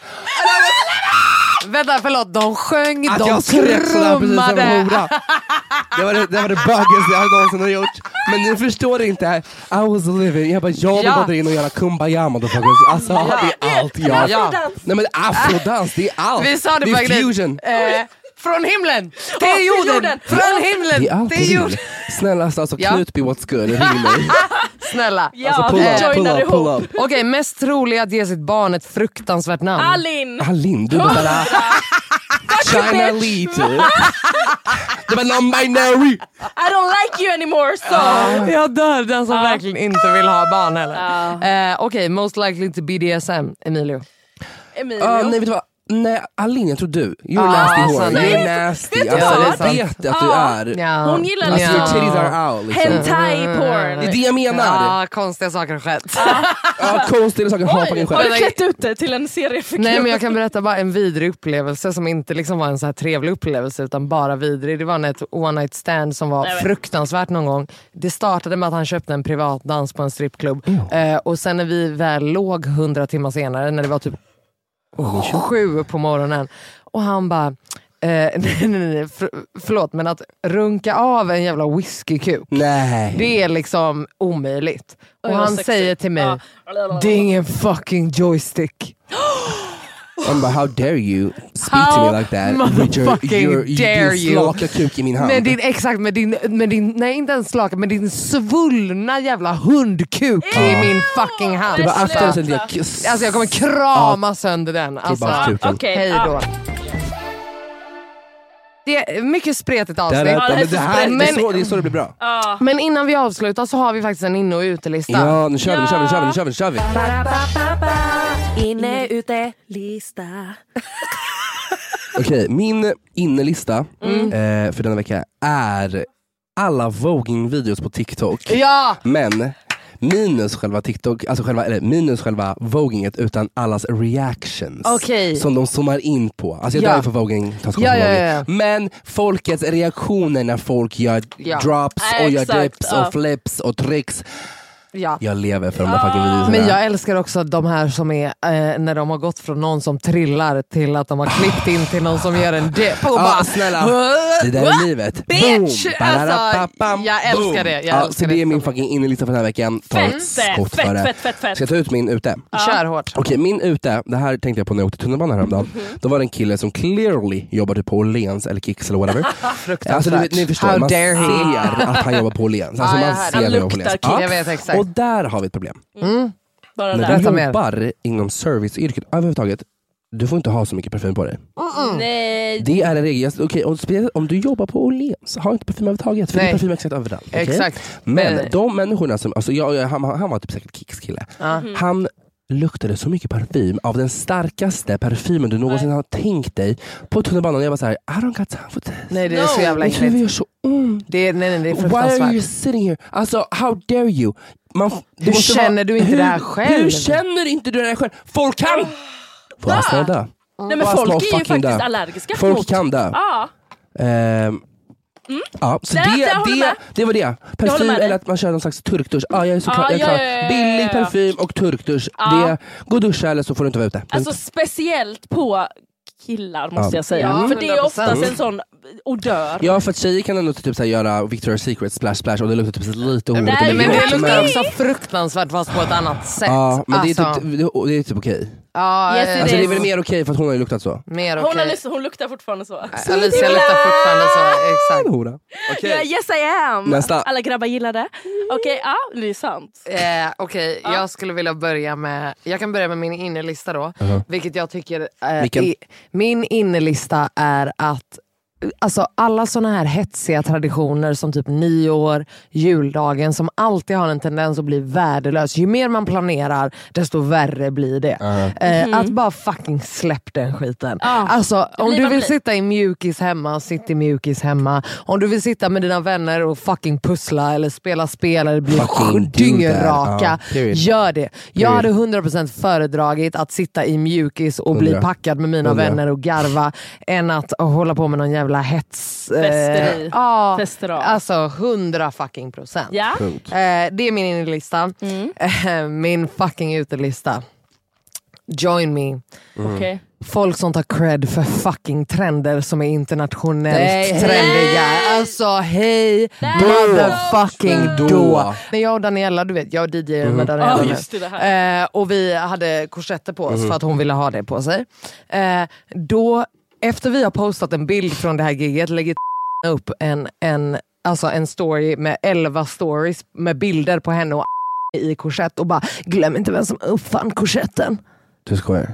Vänta, förlåt. De sjöng, Att de jag skrek sådär precis som en trummade. hora. Det var det, det, var det bögigaste jag någonsin har gjort. Men ni förstår inte. I was living. Jag bara, jag vill Ja. bara dra in och göra kumbaya motherfuckers. Alltså det är allt jag... Ja. Nej men afrodans, det är allt. Vi sa det det på är grej. fusion. Eh, från himlen till till jorden, jorden. från himlen Det är allt till jag jorden. vill. Snälla alltså, alltså Ja. Knutby what's good, ring mig. Snälla. Ja, Alltså pull vi up, pull joinar up, ihop. pull up. Alltså, Okej, mest trolig att ge sitt barn ett fruktansvärt namn. Alin. Alin, Ah, du bara bara... China typ. Lito. Du bara non-binary. I don't like you anymore. So. Ah. Jag dör, den som verkligen inte vill ha barn heller. Eh, Okej, most likely to BDSM, Emilio. Emilio. Ja, nej vet du vad? Nej, Alin jag tror du. You're Ah, nasty alltså, whore. det är You're nasty. vet du Alltså, vad? jag vet att du Ja. är. Ja. Hon gillar Alltså your Ja. titties are out liksom. Hentai porn. Det är det jag menar. Ja, konstiga saker har skett. Ja, konstiga saker har fucking Har du skett. klätt ut dig till en seriefiguр? Nej men jag kan berätta bara en vidrig upplevelse som inte liksom var en så här trevlig upplevelse utan bara vidrig. Det var en- ett one night stand som var Nej, men- fruktansvärt någon gång. Det startade med att han köpte en privat dans på en strippklubb eh, och sen när vi väl låg hundra timmar senare när det var typ sju på morgonen och han bara Eh, nej, nej, nej, för, förlåt men att runka av en jävla whiskykuk, Nej. det är liksom omöjligt. Och Oj, vad han sexigt. säger till mig, Ja. det är ingen fucking joystick. Han bara how dare you speak to How me like that. with your- motherfucking your- din dare you. slaka kuk i min hand. Med din, exakt, med din, med din, nej inte ens slaka, med din svullna jävla hundkuk i min fucking hand. Du bara Sluta. akta dig så att jag kiss. Alltså jag kommer krama sönder den. Alltså, bara Ja, kul. Okej. hej ja. då. Det är mycket spretigt Det här, avsnitt. men det, här, det, är Alltså, Men- så, det är så det blir bra. Men innan vi avslutar så har vi faktiskt en inne och utelista. Ja, nu kör vi, nu kör vi, nu kör vi, nu kör vi, nu kör vi. Inne, ute, lista. Mm. Okej, min innelista eh, för denna vecka är alla voging-videos på TikTok. Ja! Men minus själva TikTok, alltså själva, eller minus själva voginget utan allas reactions. Okej. Som de zoomar in på. Alltså jag Ja. dör för voging, tas Ja, ja, voging. ja. Men folkets reaktioner när folk gör Ja. drops Nej, och gör exakt, dips ja. och flips och tricks. ja. Jag lever för de där fucking videorna. Ah. Men jag älskar också de här som är, eh, när de har gått från någon som trillar till att de har klippt in till någon som gör en dip. Och Ja, bara, snälla. "Huh? Ah. Det där är livet. Bitch! Boom, Alltså, bararapapam, jag älskar boom. det, jag ja, älskar så det det. är min fucking innerlista för den här veckan. Ta ett Fett, skott fett, för det. fett, fett, fett. Ska jag ta ut min ute? Kör hårt. Okej, min ute, det här tänkte jag på när jag åkte tunnelbana häromdagen. Mhm. Då var det en kille som clearly jobbade på Åhléns eller Kicks eller whatever. alltså, ni, ni förstår, How man dare he. ser att han jobbar på Åhléns. Alltså, Ja, jag man hör det. ser Han han jobbar på luktar Åhléns. Kicks. Ja. Jag vet exakt. Och där har vi ett problem. Bara När där. du Berätta mer. jobbar inom serviceyrket överhuvudtaget, du får inte ha så mycket parfym på dig. Nej. Det är en regel. Jag- Okej, och speciellt om du jobbar på Åhléns, ha inte parfym överhuvudtaget. För det är Nej. parfym exakt överallt. okej? Exakt. Men Nej. de människorna som, alltså jag, jag, han, han var typ säkert Kicks kille. Han luktade så mycket parfym av den starkaste parfymen du någonsin har tänkt dig på tunnelbanan. Jag var såhär, I don't got time for this. Nej det är så jävla Mitt huvud äckligt. gör så ont. Det är, nej, nej, det är Why are you fruktansvärt. sitting here? Alltså how dare you? Man, det Hur måste vara- känner du inte hur, det här själv? Hur känner inte du det här själv? Folk kan! Får jag snälla dö? Nej men Bara folk Mm. små är ju fucking faktiskt där. allergiska Folk mot... kan dö. Ja. Ehm, Ja, så Där- det, där håller Mm. jag det, med. det var det. håller Parfym med dig. eller att man kör någon slags turkdusch. Ja, jag är så Ja, klar, jag är ja, klar. ja, ja, ja, Billig ja. parfym och turkdusch. Ja. Det, gå och duscha eller så får du inte vara ute. Alltså speciellt på killar måste jag säga. För det är oftast en sån odör. ja för att tjejer kan ändå typ så här göra Victoria's Secret splash splash och det luktar typ lite hår. Nej, lite Men gott, det luktar men- också fruktansvärt fast på ett annat sätt. liksom- Ja, men det är Alltså, typ, det, det är typ okej. ja, Yes, it Alltså det är is. väl mer okej för att hon har ju luktat så. mer Hon, har okej. lyssnat- hon luktar fortfarande så. Alicia luktar fortfarande så, exakt. Hora. Okej. Yeah, yes I am! Nästa. Alla grabbar gillar det. Okej, ja det är sant. Eh, Okej, jag skulle vilja börja med, jag kan börja med min innerlista då. Vilket jag tycker, eh, Vilken? i- min innerlista är att Alltså alla såna här hetsiga traditioner som typ nyår, juldagen som alltid har en tendens att bli värdelös. Ju mer man planerar desto värre blir det. Eh, Att bara fucking släpp den skiten. Alltså om blir du vad Mhm. vill det blir. sitta i mjukis hemma, sitt i mjukis hemma. Om du vill sitta med dina vänner och fucking pussla eller spela spel eller bli Fucking do dyngraka. that. Ja, period. Gör det. Jag Period. hade 100% föredragit att sitta i mjukis och bli Hundra. packad med mina Hundra. vänner och garva än att hålla på med någon jävla hets... eh, Festeri. Ja, Fester av. alltså 100 fucking procent. Ja. Mm, Mm. Eh, det är min innerlista. Eh, min fucking utelista. Join me. mm. Okej. Folk som tar cred för fucking trender som är internationellt Nej, trendiga. Alltså hej motherfucking Då. då. När jag och Daniela, du vet jag DJar med Daniela Ja, nu. just det, det här. Eh, och vi hade korsetter på oss för att hon ville ha det på sig. Eh, då, efter vi har postat en bild från det här giget lägger upp en, en, alltså en story med 11 stories med bilder på henne och i korsett och bara glöm inte vem som uppfann korsetten. Du skojar?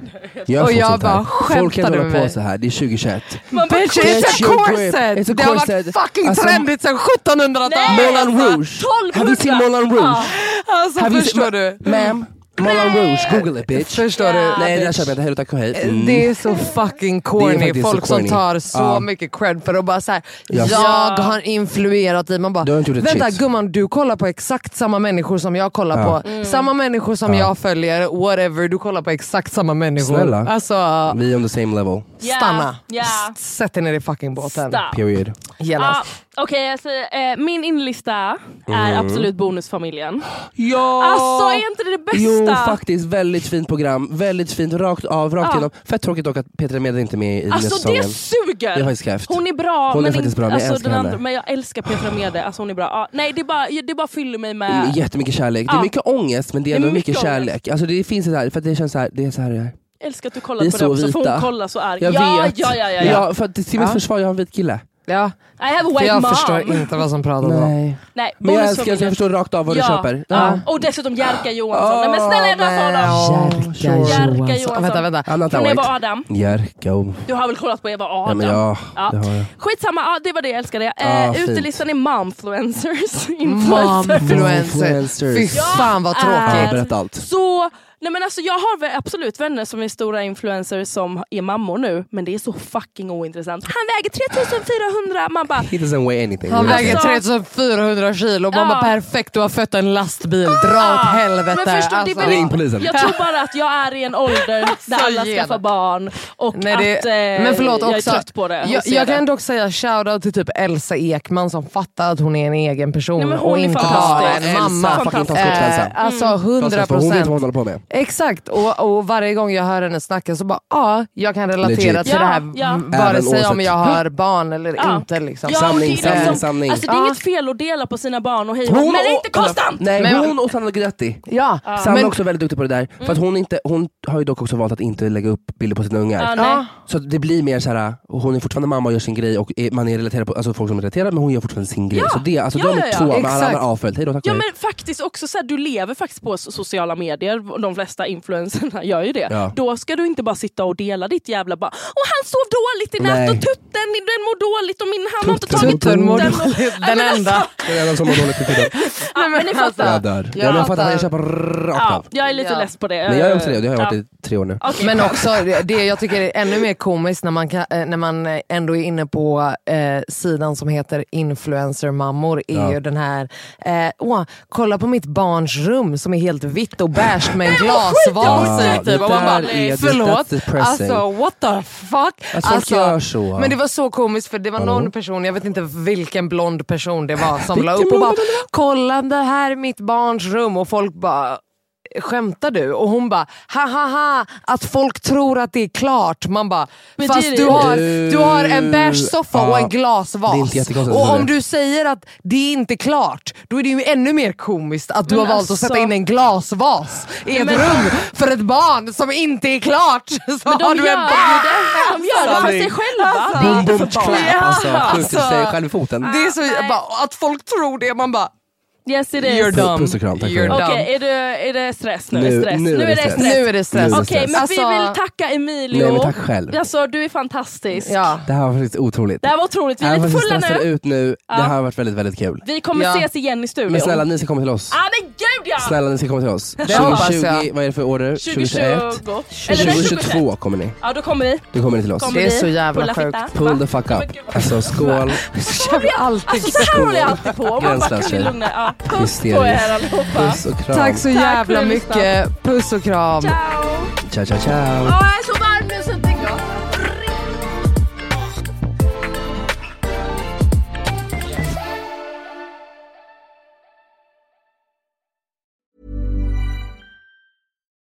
Jag har Och fått jag sånt här. bara, Folk kan skämtar du hålla med på mig? så här. det är 2021. Man bara, Bitch, Get it's a your grip. corset! It's a Det har corset. varit fucking Alltså- trendigt sedan 1700-talet! Moulin Rouge! 1200. Have you seen Moulin Rouge? Ja. Alltså Have you förstår seen- du? Ma'am, Moulin Rouge, google it bitch. Förstår du? Nej det där bitch. Eh, köper jag inte, heller tack och hej. Mm. Det är så fucking Det är corny, faktiskt folk så corny. som tar så Ja. mycket cred för att bara såhär, Ja. jag har influerat dig. Man bara, Du har inte gjort ett vänta shit." gumman du kollar på exakt samma människor som jag kollar Ja. Mm. på. Samma människor som jag följer, whatever, du kollar på exakt samma människor. Snälla. Alltså, Vi är on the same level, Ja, stanna. ja. S- Sätt dig ner i fucking båten. Stop. period. Genast. Ja, Okej, alltså, eh, min inlista är Mm. absolut Bonusfamiljen. Ja! Alltså är inte det det bästa? Jo faktiskt, väldigt fint program. Väldigt fint, rakt av, rakt Ja. igenom. Fett tråkigt dock att Petra Mede inte är med i nya Alltså säsongen. det suger! Det är faktiskt krävt. Hon är bra, Hon är men, faktiskt inte- bra, men jag alltså, älskar den henne. andra, men jag älskar Petra Mede, alltså hon är bra. Ja, nej det bara, det bara fyller mig Mm, med... Jättemycket kärlek. Det Ja. är mycket ångest men det är ändå mycket, mycket ångest. kärlek. Alltså det finns det här, för att det känns så här, det är så här det är. Jag älskar att du Vi kollar är på det så också, för vita. hon kollar så arg. Jag ja, vet. ja, ja, ja, ja. Ja, för att, till mitt Ja. försvar, jag har en vit kille. Ja. I have a För white jag mom. förstår inte vad som pratas om. Nej. Nej, Men jag älskar Bonusfamiljen. att jag förstår rakt av vad du ja. köper. Ja. Och dessutom Jerka Johansson. Nej, men snälla jag drar men- honom. Jerka Jerka Johansson. Johansson. Vänta, vänta. Anata Från Eva White. Adam. Jerka och... Du har väl kollat på Eva Adam? Ja, men ja, Ja. det har jag. Skitsamma, ja, det var det jag älskade. Ah, eh, fint. utelistan är momfluencers. Influencers. Momfluencers. Influencers. Fy fan vad Jag tråkigt. Ja, är berätta allt. Eh, Så Nej men alltså jag har väl absolut vänner som är stora influencers som är mammor nu, men det är så fucking ointressant. Han väger 3400! Man bara, He doesn't weigh anything. Han really. väger Alltså- 3400 kilo. Man Ja. bara perfekt, du har fött en lastbil. Dra åt "Ah." helvete. alltså. Men förstår, det är väl- Ring polisen. jag tror bara att jag är i en ålder där alla ge skaffar det. barn och Alltså, Nej, det, att eh, men förlåt, också, jag är trött på det. och Jag, ser jag det. kan dock säga shoutout till typ Elsa Ekman som fattar att hon är en egen person Nej, men hon och är inte bara fantastisk. Mm. en Elsa, mamma. Ah, fucking toppscoach, Elsa. eh, alltså 100 Hon vet vad hon procent. håller på med. Exakt, och, och varje gång jag hör henne snacka så bara ja, jag kan relatera Legit. till det här. Ja, ja. Vare Även sig om oavsett. jag har barn eller Ja. inte. Liksom. Ja, och Samling, det är samling, liksom- samling. Alltså, det är Ja. inget fel att dela på sina barn och hej men det är inte konstant! Nej, Men- hon och Sandra Gretti. Ja. Sandra är Men- också väldigt duktig på det där. Mm. För att hon, inte, hon har ju dock också valt att inte lägga upp bilder på sina ungar. Ja, nej. Så att det blir mer så här, och hon är fortfarande mamma och gör sin grej och är, man är relaterad på, alltså folk som är relaterade men hon gör fortfarande sin grej. Ja, Så det, alltså ja, de ja, ja. två, men alla Exakt. andra avföljt. Hejdå, tack Ja och hej. men faktiskt också så här, du lever faktiskt på so- sociala medier, och de flesta influencerna gör ju det. Ja. Då ska du inte bara sitta och dela ditt jävla bara och han sov dåligt i Nej. natt och tutten den mår dåligt och min, han har inte Tutten. tagit Tutten alltså, mår tutten. och- dåligt. Ja, men Den enda. Det är en som har dåligt med tiden. Ja, men ni fattar. Jag dör. Ja, men jag fattar, jag köper rakt Ja, av. jag är lite Ja. less på det. Men jag är också det, och det har jag Ja. varit i tre år nu. Okej. Men också det- det jag tycker är ännu mer komiskt när man, kan, eh, när man eh, ändå är inne på eh, sidan som heter influencermammor är Ja. ju den här, eh, åh, kolla på mitt barns rum som är helt vitt och beige med en glasvas Ja, i. Typ. Och det man bara, där är- förlåt, that's depressing. alltså what the fuck. Alltså, Att folk gör så. Men det var så komiskt för det var någon person, jag vet inte vilken blond person det var som la upp och bara, kolla det här är mitt barns rum och folk bara, skämtar du? Och hon bara, ha ha ha, att folk tror att det är klart. Man bara, Men det är fast det du ju. har, du har en bärsoffa Ja. och en glasvas. Det är inte jättekonstigt att och säga om det. du säger att det är inte klart, då är det ju ännu mer komiskt att du Men har valt att alltså- sätta in en glasvas i ett rum för ett barn som inte är klart. Så Men de har du en gör barn. ju det, de gör det för sig själva. Det är Boom, inte boom, för barn. clap. Alltså, skjuter Alltså. sig själv i foten. Det är så, bara, att folk tror det, man bara Yes it you're is. dumb. Puss och kram, tack för you're det. Okej, dumb. är, det- är det stress nu? Nu- stress. nu är det stress. Nu är det stress. Nu är det Okej, men Alltså- vi vill tacka Emilio. Nej men tack själv. Alltså du är fantastisk. Ja. Det här var faktiskt otroligt. Det här var otroligt, vi är Även lite fast fulla stressade nu. ut nu, det här har varit väldigt väldigt kul. Vi kommer Ja. ses igen i studion. Men snälla ni ska komma till oss. Ah, men gud ja! Snälla ni ska komma till oss. hoppas 2020, jag. vad är det för år nu? 2020. 2021? Eller nej, 2021. 2022 kommer ni. Ja då kommer vi. Då kommer ni till oss. Kommer Det är vi. så jävla Pulla sjukt. fitta. Pull Va? the fuck up. Men gud, vad- Alltså skål. Så här Alltså så här håller jag alltid på. Man bara Gränslös kan vi tjej. lugna ja. Puss på Hysteriskt. er allihopa. Puss och kram. Tack så för jävla att ni mycket. Puss och kram. Ciao! Ciao ciao ciao. Ja, jag är så varm nu så jag tänker...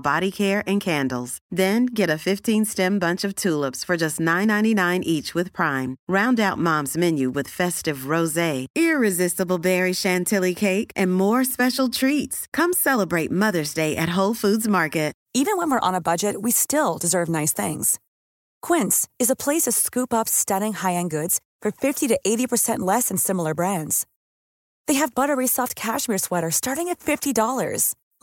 body care and candles. Then get a 15-stem bunch of tulips for just $9.99 each with Prime. Round out Mom's menu with festive rosé, irresistible berry chantilly cake, and more special treats. Come celebrate Mother's Day at Whole Foods Market. Even when we're on a budget, we still deserve nice things. Quince is a place to scoop up stunning high end goods for 50 to 80% less than similar brands. They have buttery soft cashmere sweaters starting at $50,